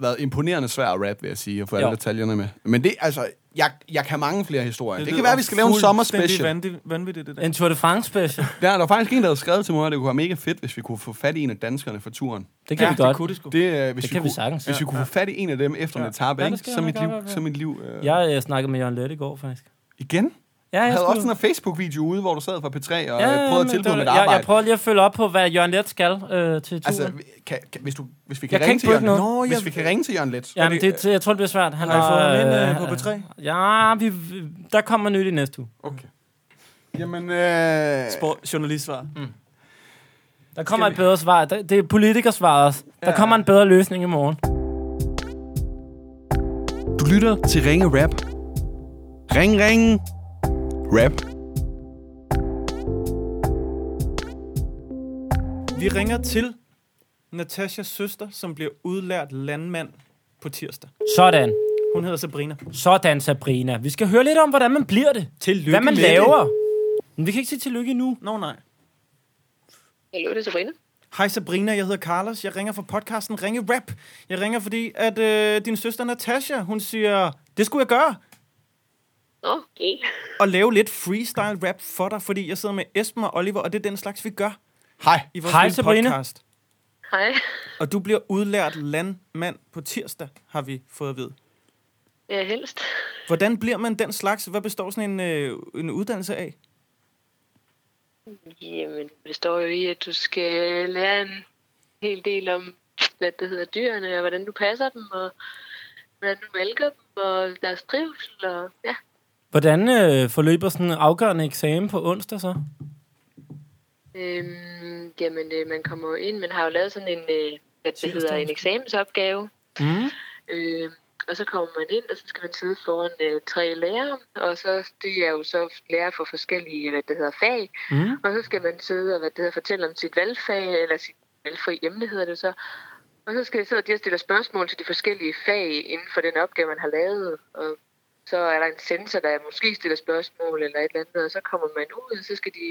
S3: været imponerende svært at rap, vil jeg sige, at få
S1: Jo.
S3: alle detaljerne med. Men det, altså, Jeg, jeg kan mange flere historier. Det, det
S13: lyder
S3: kan være, at vi skal lave en
S13: fuldstændig
S3: sommerspecial.
S13: vanvittigt- vanvittigt, det der.
S1: En Tour de France special.
S3: Der er der faktisk en, der havde skrevet til mig, at det kunne være mega fedt, hvis vi kunne få fat i en af danskerne for turen.
S1: Det kan vi godt.
S3: Det, kunne det, sgu. det, øh, hvis
S1: Det kan vi
S3: kunne,
S1: sagtens.
S3: Hvis vi
S1: Ja.
S3: kunne få fat i en af dem efter ja. en etape,
S1: Ja,
S3: ja,
S1: det
S3: ikke?
S1: skal
S3: Så
S1: nok
S3: mit
S1: godt
S3: liv...
S1: være.
S3: Så mit liv øh,
S1: Jeg, jeg snakkede med Jørgen Lette i går, faktisk.
S3: Igen?
S1: Ja, jeg
S3: jeg havde
S1: skulle-
S3: også sådan en Facebook-video ude, hvor du sad for P3 og ja,
S1: men
S3: prøvede at
S1: det
S3: tilbyde
S1: var-
S3: mit
S1: jeg,
S3: arbejde.
S1: jeg prøver lige at følge op på, hvad Jørgen Let skal øh, til turen.
S3: Altså, kan, kan, hvis, du, hvis vi kan
S1: Jeg kan
S3: ringe
S1: ikke
S3: til
S1: plukke
S3: Jørgen...
S1: noget.
S3: Nå,
S1: Nå,
S3: hvis
S1: jeg-
S3: vi kan ringe til Jørgen lidt.
S1: Jamen, det, det, jeg tror, det bliver svært. Han
S3: Har I
S1: har-
S3: fået ham ind, øh,
S1: øh,
S3: på P3?
S1: Ja, vi, der kommer nyt i næste uge.
S3: Okay. Jamen, øh...
S2: Sport, journalistsvar. Mm.
S1: Der kommer et bedre svar. Det, det er politikersvaret også. Der kommer en bedre løsning i morgen.
S13: Du lytter til Ringe Rap. Ring, ring. Rap.
S2: Vi ringer til Natashas søster, som bliver udlært landmand på tirsdag.
S1: Sådan.
S2: Hun hedder Sabrina.
S1: Sådan, Sabrina. Vi skal høre lidt om, hvordan man bliver det.
S2: Tillykke
S1: Hvad man
S2: med
S1: laver. Men vi kan ikke sige tillykke endnu.
S2: Nå, nej.
S14: Hallo, det er Sabrina.
S2: Hej Sabrina, jeg hedder Carlos. Jeg ringer fra podcasten Ringe Rap. Jeg ringer, fordi at øh, din søster Natasha, hun siger, det skulle jeg gøre.
S14: Okay.
S2: Og lave lidt freestyle rap for dig, fordi jeg sidder med Esben og Oliver, og det er den slags, vi gør.
S3: Hej.
S2: I vores
S1: Hej,
S2: lille
S1: Sabrina.
S2: podcast.
S14: Hej.
S2: Og du bliver udlært landmand på tirsdag, har vi fået at vide.
S14: Ja, helst.
S2: Hvordan bliver man den slags? Hvad består sådan en, øh, en uddannelse af?
S14: Jamen, det står jo i, at du skal lære en hel del om, hvad det hedder, dyrene, og hvordan du passer dem, og hvordan du mælker dem, og deres trivsel, og ja.
S1: Hvordan øh, forløber sådan en afgørende eksamen på onsdag så?
S14: Øhm, jamen, øh, man kommer jo ind, man har jo lavet sådan en, øh, hvad det hedder, en eksamensopgave,
S1: Mm.
S14: Øh, og så kommer man ind, og så skal man sidde foran øh, tre lærere, og så det er jo så lærere for forskellige, hvad det hedder, fag.
S5: Mm.
S14: Og så skal man sidde og hvad det hedder, fortælle om sit valgfag, eller sit valgfri emne hedder det så. Og så skal jeg sidde og de og stille spørgsmål til de forskellige fag inden for den opgave, man har lavet. Og så er der en sensor, der måske stiller spørgsmål eller et eller andet, og så kommer man ud, og så skal de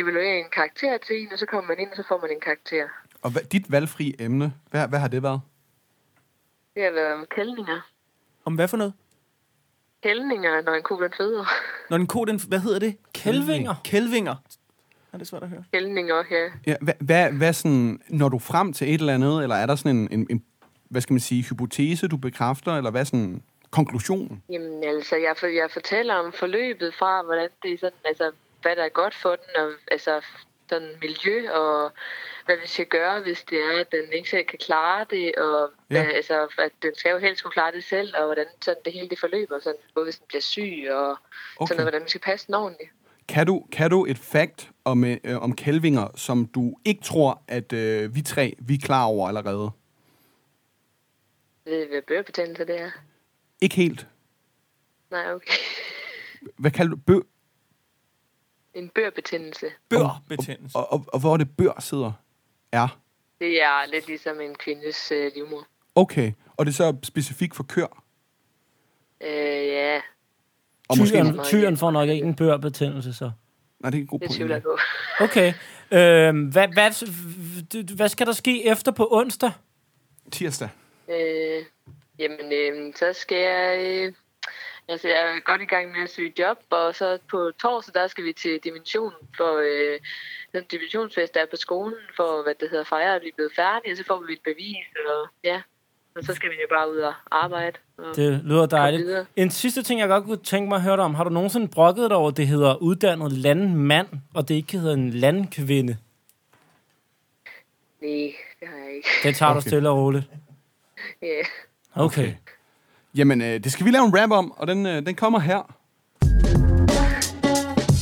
S14: evaluere en karakter til en, og så kommer man ind, og så får man en karakter.
S3: Og hvad, dit valgfri emne, hvad, hvad har det været?
S14: Det har været om kældninger.
S2: Om hvad for noget?
S14: Kældninger, når en ko den føder.
S2: Når den ko, den, hvad hedder det?
S1: Kælvinger.
S2: Kælvinger. Er det svært at høre?
S14: Kældninger, ja.
S3: Ja, hvad, hvad, hvad sådan, når du frem til et eller andet, eller er der sådan en, en, en hvad skal man sige, hypotese, du bekræfter, eller hvad sådan konklusionen?
S14: Jamen altså, jeg, for, jeg fortæller om forløbet fra, hvordan det er sådan, altså, hvad der er godt for den, og altså, sådan miljø, og hvad vi skal gøre, hvis det er, at den ikke selv kan klare det, og ja.
S5: Ja.
S14: altså, at den skal jo helst kunne klare det selv, og hvordan sådan det hele det forløber, sådan, både hvis den bliver syg, og okay. sådan noget, hvordan man skal passe den ordentligt.
S3: Kan du, kan du et fakt om, øh, øh, om kælvinger, som du ikke tror, at øh, vi tre, vi er klar over allerede?
S14: Ved I, hvad børbetændelse det er?
S3: Ikke helt.
S14: Nej, okay.
S3: Hvad kalder du? Bø,
S14: En børbetændelse.
S2: børbetændelse.
S3: Og, og, og, og hvor det bør sidder? Ja.
S14: Det er lidt ligesom en kvindes øh, livmor.
S3: Okay. Og det er så specifikt for kør?
S14: Øh, ja,
S3: Og
S1: tyren,
S3: måske-
S1: tyren får nok ikke en børbetændelse så.
S3: Nej, det er en god
S14: det tvivler jeg på.
S1: Okay. Øhm, hvad, hvad, hvad skal der ske efter på onsdag?
S3: Tirsdag.
S14: Øh, jamen, øh, så skal jeg... Øh, altså, jeg er godt i gang med at søge job, og så på torsdag, der skal vi til Dimensionen for... Øh, den divisionsfest, der er på skolen, for hvad det hedder, fejre, at vi er blevet færdige, og så får vi et bevis, og ja. Og så skal vi jo bare ud og arbejde. Og
S1: Det lyder dejligt.
S14: videre.
S1: En sidste ting, jeg godt kunne tænke mig at høre dig om. Har du nogensinde brokket dig over, at det hedder uddannet landmand, og det ikke hedder en landkvinde?
S14: Nej, det har jeg ikke.
S1: Det tager okay. du
S3: Okay.
S1: stille og roligt.
S14: Ja.
S1: Okay. okay.
S3: Jamen, øh, det skal vi lave en rap om, og den, øh, den kommer her.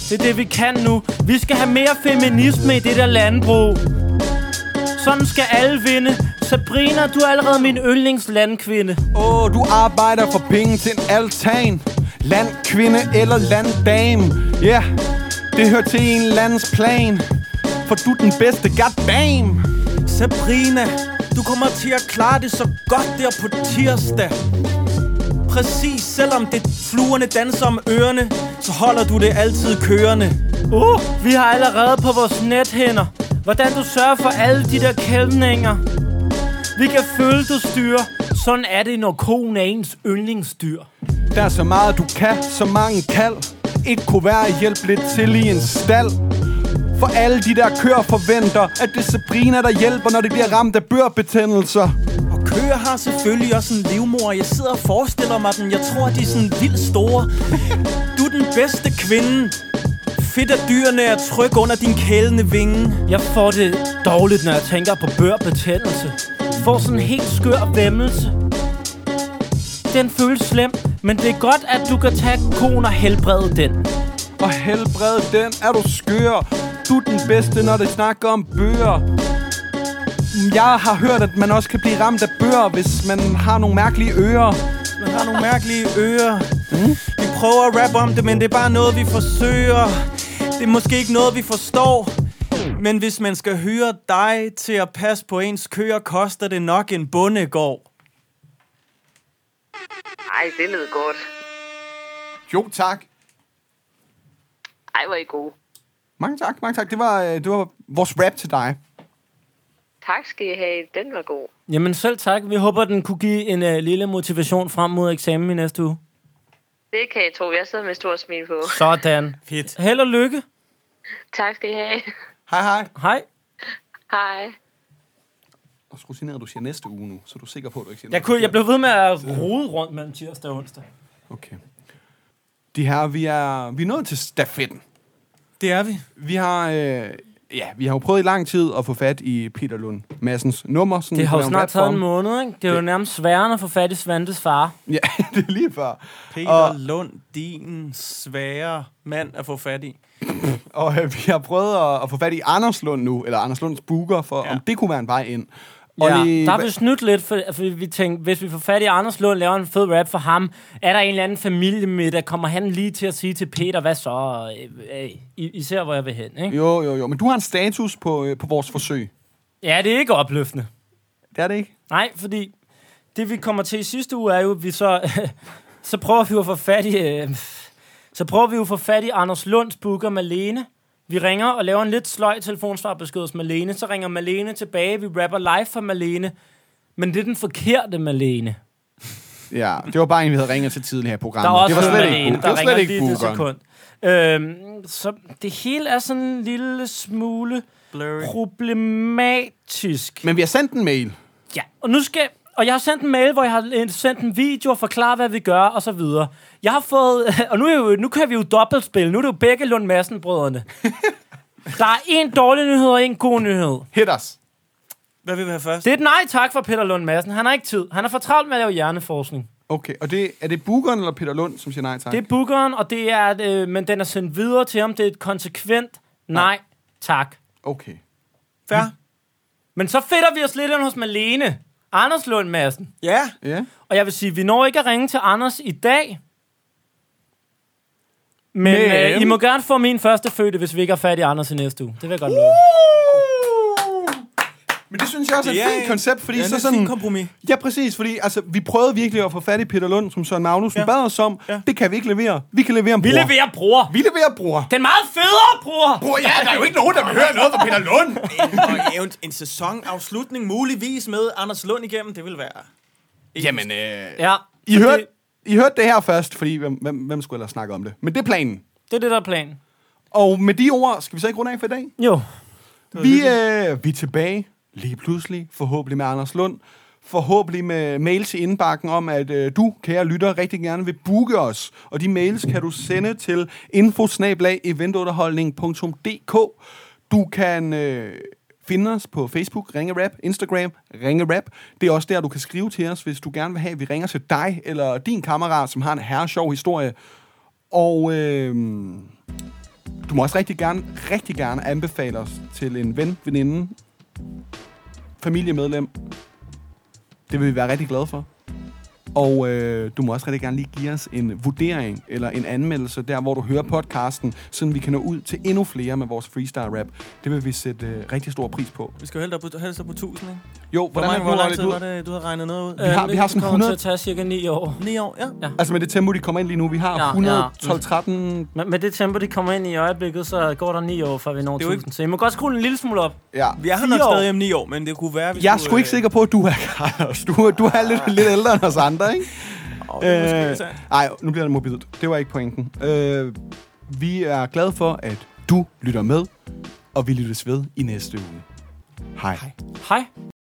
S1: Det er det, vi kan nu. Vi skal have mere feminisme i det der landbrug. Sådan skal alle vinde. Sabrina, du er allerede min yndlingslandkvinde.
S3: Åh, oh, du arbejder for penge til en altan Landkvinde eller landdame Ja, yeah. det hører til en landsplan For du er den bedste, goddamn
S2: Sabrina, du kommer til at klare det så godt der på tirsdag. Præcis, selvom det fluerne danser om ørerne, så holder du det altid kørende.
S1: Uh, vi har allerede på vores nethænder. Hvordan du sørger for alle de der kælmninger. Vi kan følge, du styrer. Sådan er det, når konen er ens yndlingsdyr.
S3: Der er så meget du kan, så mange kald Ikke kunne være at hjælpe lidt til i en stald For alle de der køer forventer At det er Sabrina der hjælper, når de bliver ramt af børbetændelser
S2: Køer har selvfølgelig også en livmor. Jeg sidder og forestiller mig den. Jeg tror, de er sådan vildt store. Du er den bedste kvinde. Fedt, at dyrene er tryg under din kælende vinge.
S1: Jeg får det dårligt, når jeg tænker på børbetændelse. Får sådan en helt skør væmmelse. Den føles slem, men det er godt, at du kan tage koen og helbrede den.
S3: Og helbred den, er du skør Du er den bedste, når det snakker om bøger Jeg har hørt, at man også kan blive ramt af bøger Hvis man har nogle mærkelige ører
S2: Man har nogle mærkelige ører. Vi prøver at rappe om det, men det er bare noget, vi forsøger. Det er måske ikke noget, vi forstår. Men hvis man skal hyre dig til at passe på ens køer, koster det nok en bondegård.
S14: Ej, det lød godt.
S3: Jo, tak
S14: Ej, hvor er I gode.
S3: Mange tak, mange tak Det var, øh, det var vores rap til dig
S14: Tak skal I have. Den var god.
S1: Jamen selv tak. Vi håber, den kunne give en uh, lille motivation frem mod eksamen i næste uge.
S14: Det kan I tro. Jeg sidder med stor smil på.
S1: Sådan. Fedt. Held og lykke.
S14: Tak skal I have.
S3: Hej hej
S1: Hej.
S14: Hej.
S3: Og skru ned, at du siger næste uge nu Så er du sikker på, at du ikke siger
S1: Jeg, kunne, jeg blev ved med at rode rundt mellem tirsdag og onsdag.
S3: Okay. De her, vi er, vi er nået til stafetten.
S2: Det er vi.
S3: Vi har, øh, ja, vi har jo prøvet i lang tid at få fat i Peter Lund Massens nummer. Sådan,
S1: Det har
S3: på
S1: jo
S3: en
S1: snart taget
S3: platform.
S1: en måned, ikke? Det er jo nærmest sværere end at få fat i Svantes far.
S3: Ja, det er lige før.
S2: Peter
S3: Og-
S2: og... Lund, din svære mand at få fat i.
S3: Og øh, vi har prøvet at, at få fat i Anders Lund nu, eller Anders Lunds booker, for ja. om det kunne være en vej ind. Og
S1: Ja,
S3: det-
S1: der har vi snydt lidt, for, for vi tænkte, hvis vi får fat i Anders Lund, laver en fed rap for ham, er der en eller anden familiemiddag, kommer han lige til at sige til Peter, hvad så? Øh, øh, I, I ser, hvor jeg vil hen, ikke?
S3: Jo, jo, jo. Men du har en status på, øh, på vores forsøg.
S1: Ja, det er ikke opløftende.
S3: Det er det ikke.
S1: Nej, fordi det vi kommer til i sidste uge er jo, at vi så, så prøver vi jo at få fat i, øh, så prøver vi jo at få fat i Anders Lunds booker Malene. Vi ringer og laver en lidt sløj telefonsvarbesked hos Malene, så ringer Malene tilbage, vi rapper live for Malene, men det er den forkerte Malene.
S3: Ja, det var bare en, vi havde ringet til tidligere her i programmet.
S1: Der er også
S3: det var slet
S1: Malene,
S3: ikke, book- det
S1: der
S3: var
S1: ringer
S3: slet ikke
S1: lige det
S3: bookeren.
S1: sekund. Øhm, så det hele er sådan en lille smule
S2: Blurry.
S1: problematisk.
S3: Men vi har sendt en mail.
S1: Ja, og nu skal... Og jeg har sendt en mail, hvor jeg har øh, sendt en video og forklaret, hvad vi gør, og så videre. Jeg har fået... Og nu, er jo, nu kan vi jo dobbeltspille. Nu er det jo begge Lund Madsen-brødrene. Der er en dårlig nyhed og en god nyhed.
S3: Hit os.
S2: Hvad vil vi have først?
S1: Det er et nej tak for Peter Lund Madsen. Han har ikke tid. Han er for travlt med at lave hjerneforskning.
S3: Okay, og det, er det bookeren eller Peter Lund, som siger nej tak?
S1: Det er bookeren, og det er, at, øh, men den er sendt videre til ham. Det er et konsekvent nej tak.
S3: Okay.
S2: Fair.
S1: Men så fedter vi os lidt ind hos Malene. Anders Lund Madsen.
S2: Ja.
S3: Ja.
S1: Og jeg vil sige, vi når ikke at ringe til Anders i dag. Men,
S2: Men-
S1: Øh, I må gerne få min første fødte, hvis vi ikke har fat i Anders i næste uge. Det vil jeg godt love.
S3: Men det synes jeg også er et
S2: Det
S3: ja,
S2: er
S3: fint
S2: en-
S3: koncept, fordi
S2: ja,
S3: ja,
S2: det
S3: så
S2: er et
S3: sådan...
S2: fint kompromis.
S3: Ja, præcis, fordi altså, vi prøvede virkelig at få fat i Peter Lund, som Søren Magnussen ja. bad os om. Ja. Det kan vi ikke levere. Vi kan levere en
S1: Vi
S3: bror.
S1: leverer bror.
S3: Vi leverer bror.
S1: Den meget federe bror.
S3: Bror, ja, der er jo ikke nogen, der vil høre noget fra Peter Lund.
S2: og event en sæsonafslutning muligvis med Anders Lund igennem, det vil være...
S3: Jamen, øh,
S1: Ja,
S3: I, hørte, I hørte det her først, fordi hvem, hvem, hvem skulle ellers snakke om det? Men det er planen.
S1: det er det, der er planen.
S3: Og med de ord, skal vi så ikke runde af for i dag?
S1: Jo.
S3: Vi, øh, vi er tilbage lige pludselig, forhåbentlig med Anders Lund. Forhåbentlig med mails i indbakken om, at øh, du, kære lytter, rigtig gerne vil booke os. Og de mails kan du sende til infosnablag.eventunderholdning.dk Du kan øh, finde os på Facebook, Ringe Rap, Instagram, Ringe Rap. Det er også der, du kan skrive til os, hvis du gerne vil have, at vi ringer til dig eller din kammerat, som har en herre sjov historie. Og... Øh, du må også rigtig gerne, rigtig gerne anbefale os til en ven, veninde, familiemedlem. Det vil vi være rigtig glade for. Og øh, du må også rigtig gerne lige give os en vurdering eller en anmeldelse der, hvor du hører podcasten, så vi kan nå ud til endnu flere med vores freestyle rap. Det vil vi sætte øh, rigtig stor pris på.
S2: Vi skal jo helst op på, helst op på 1000, ikke?
S3: Jo,
S2: Hvor,
S3: hvordan
S2: mange,
S3: er
S2: hvor lang
S3: det,
S2: tid
S3: du,
S2: var det, du har regnet noget ud? Øh,
S3: Vi har- vi har sådan
S1: Det kommer
S3: 100
S1: til at tage cirka 9 år.
S2: 9 år, ja.
S3: Altså med det tempo, de kommer ind lige nu, vi har
S1: Ja, ja.
S3: 112, 13...
S1: Men med det tempo, de kommer ind i øjeblikket, så går der 9 år, før vi når
S2: er jo ikke-
S1: 1000. Så I må godt skrue en lille smule op.
S3: Ja.
S2: Vi er her
S1: Fire
S2: nok
S1: år.
S2: stadig om 9 år, men det kunne være, hvis
S3: Jeg er
S2: du,
S3: sgu ikke
S2: øh,
S3: sikker på, at du er Carlos. Du, er- du er lidt, lidt ældre end os andre, ikke?
S2: Åh, det er måske
S3: Øh,
S2: sandt.
S3: Ej, nu bliver det mobilt. Det var ikke pointen. Øh, vi er glade for, at du lytter med, og vi lyttes ved i næste uge. Hej. Hej.
S15: Hej.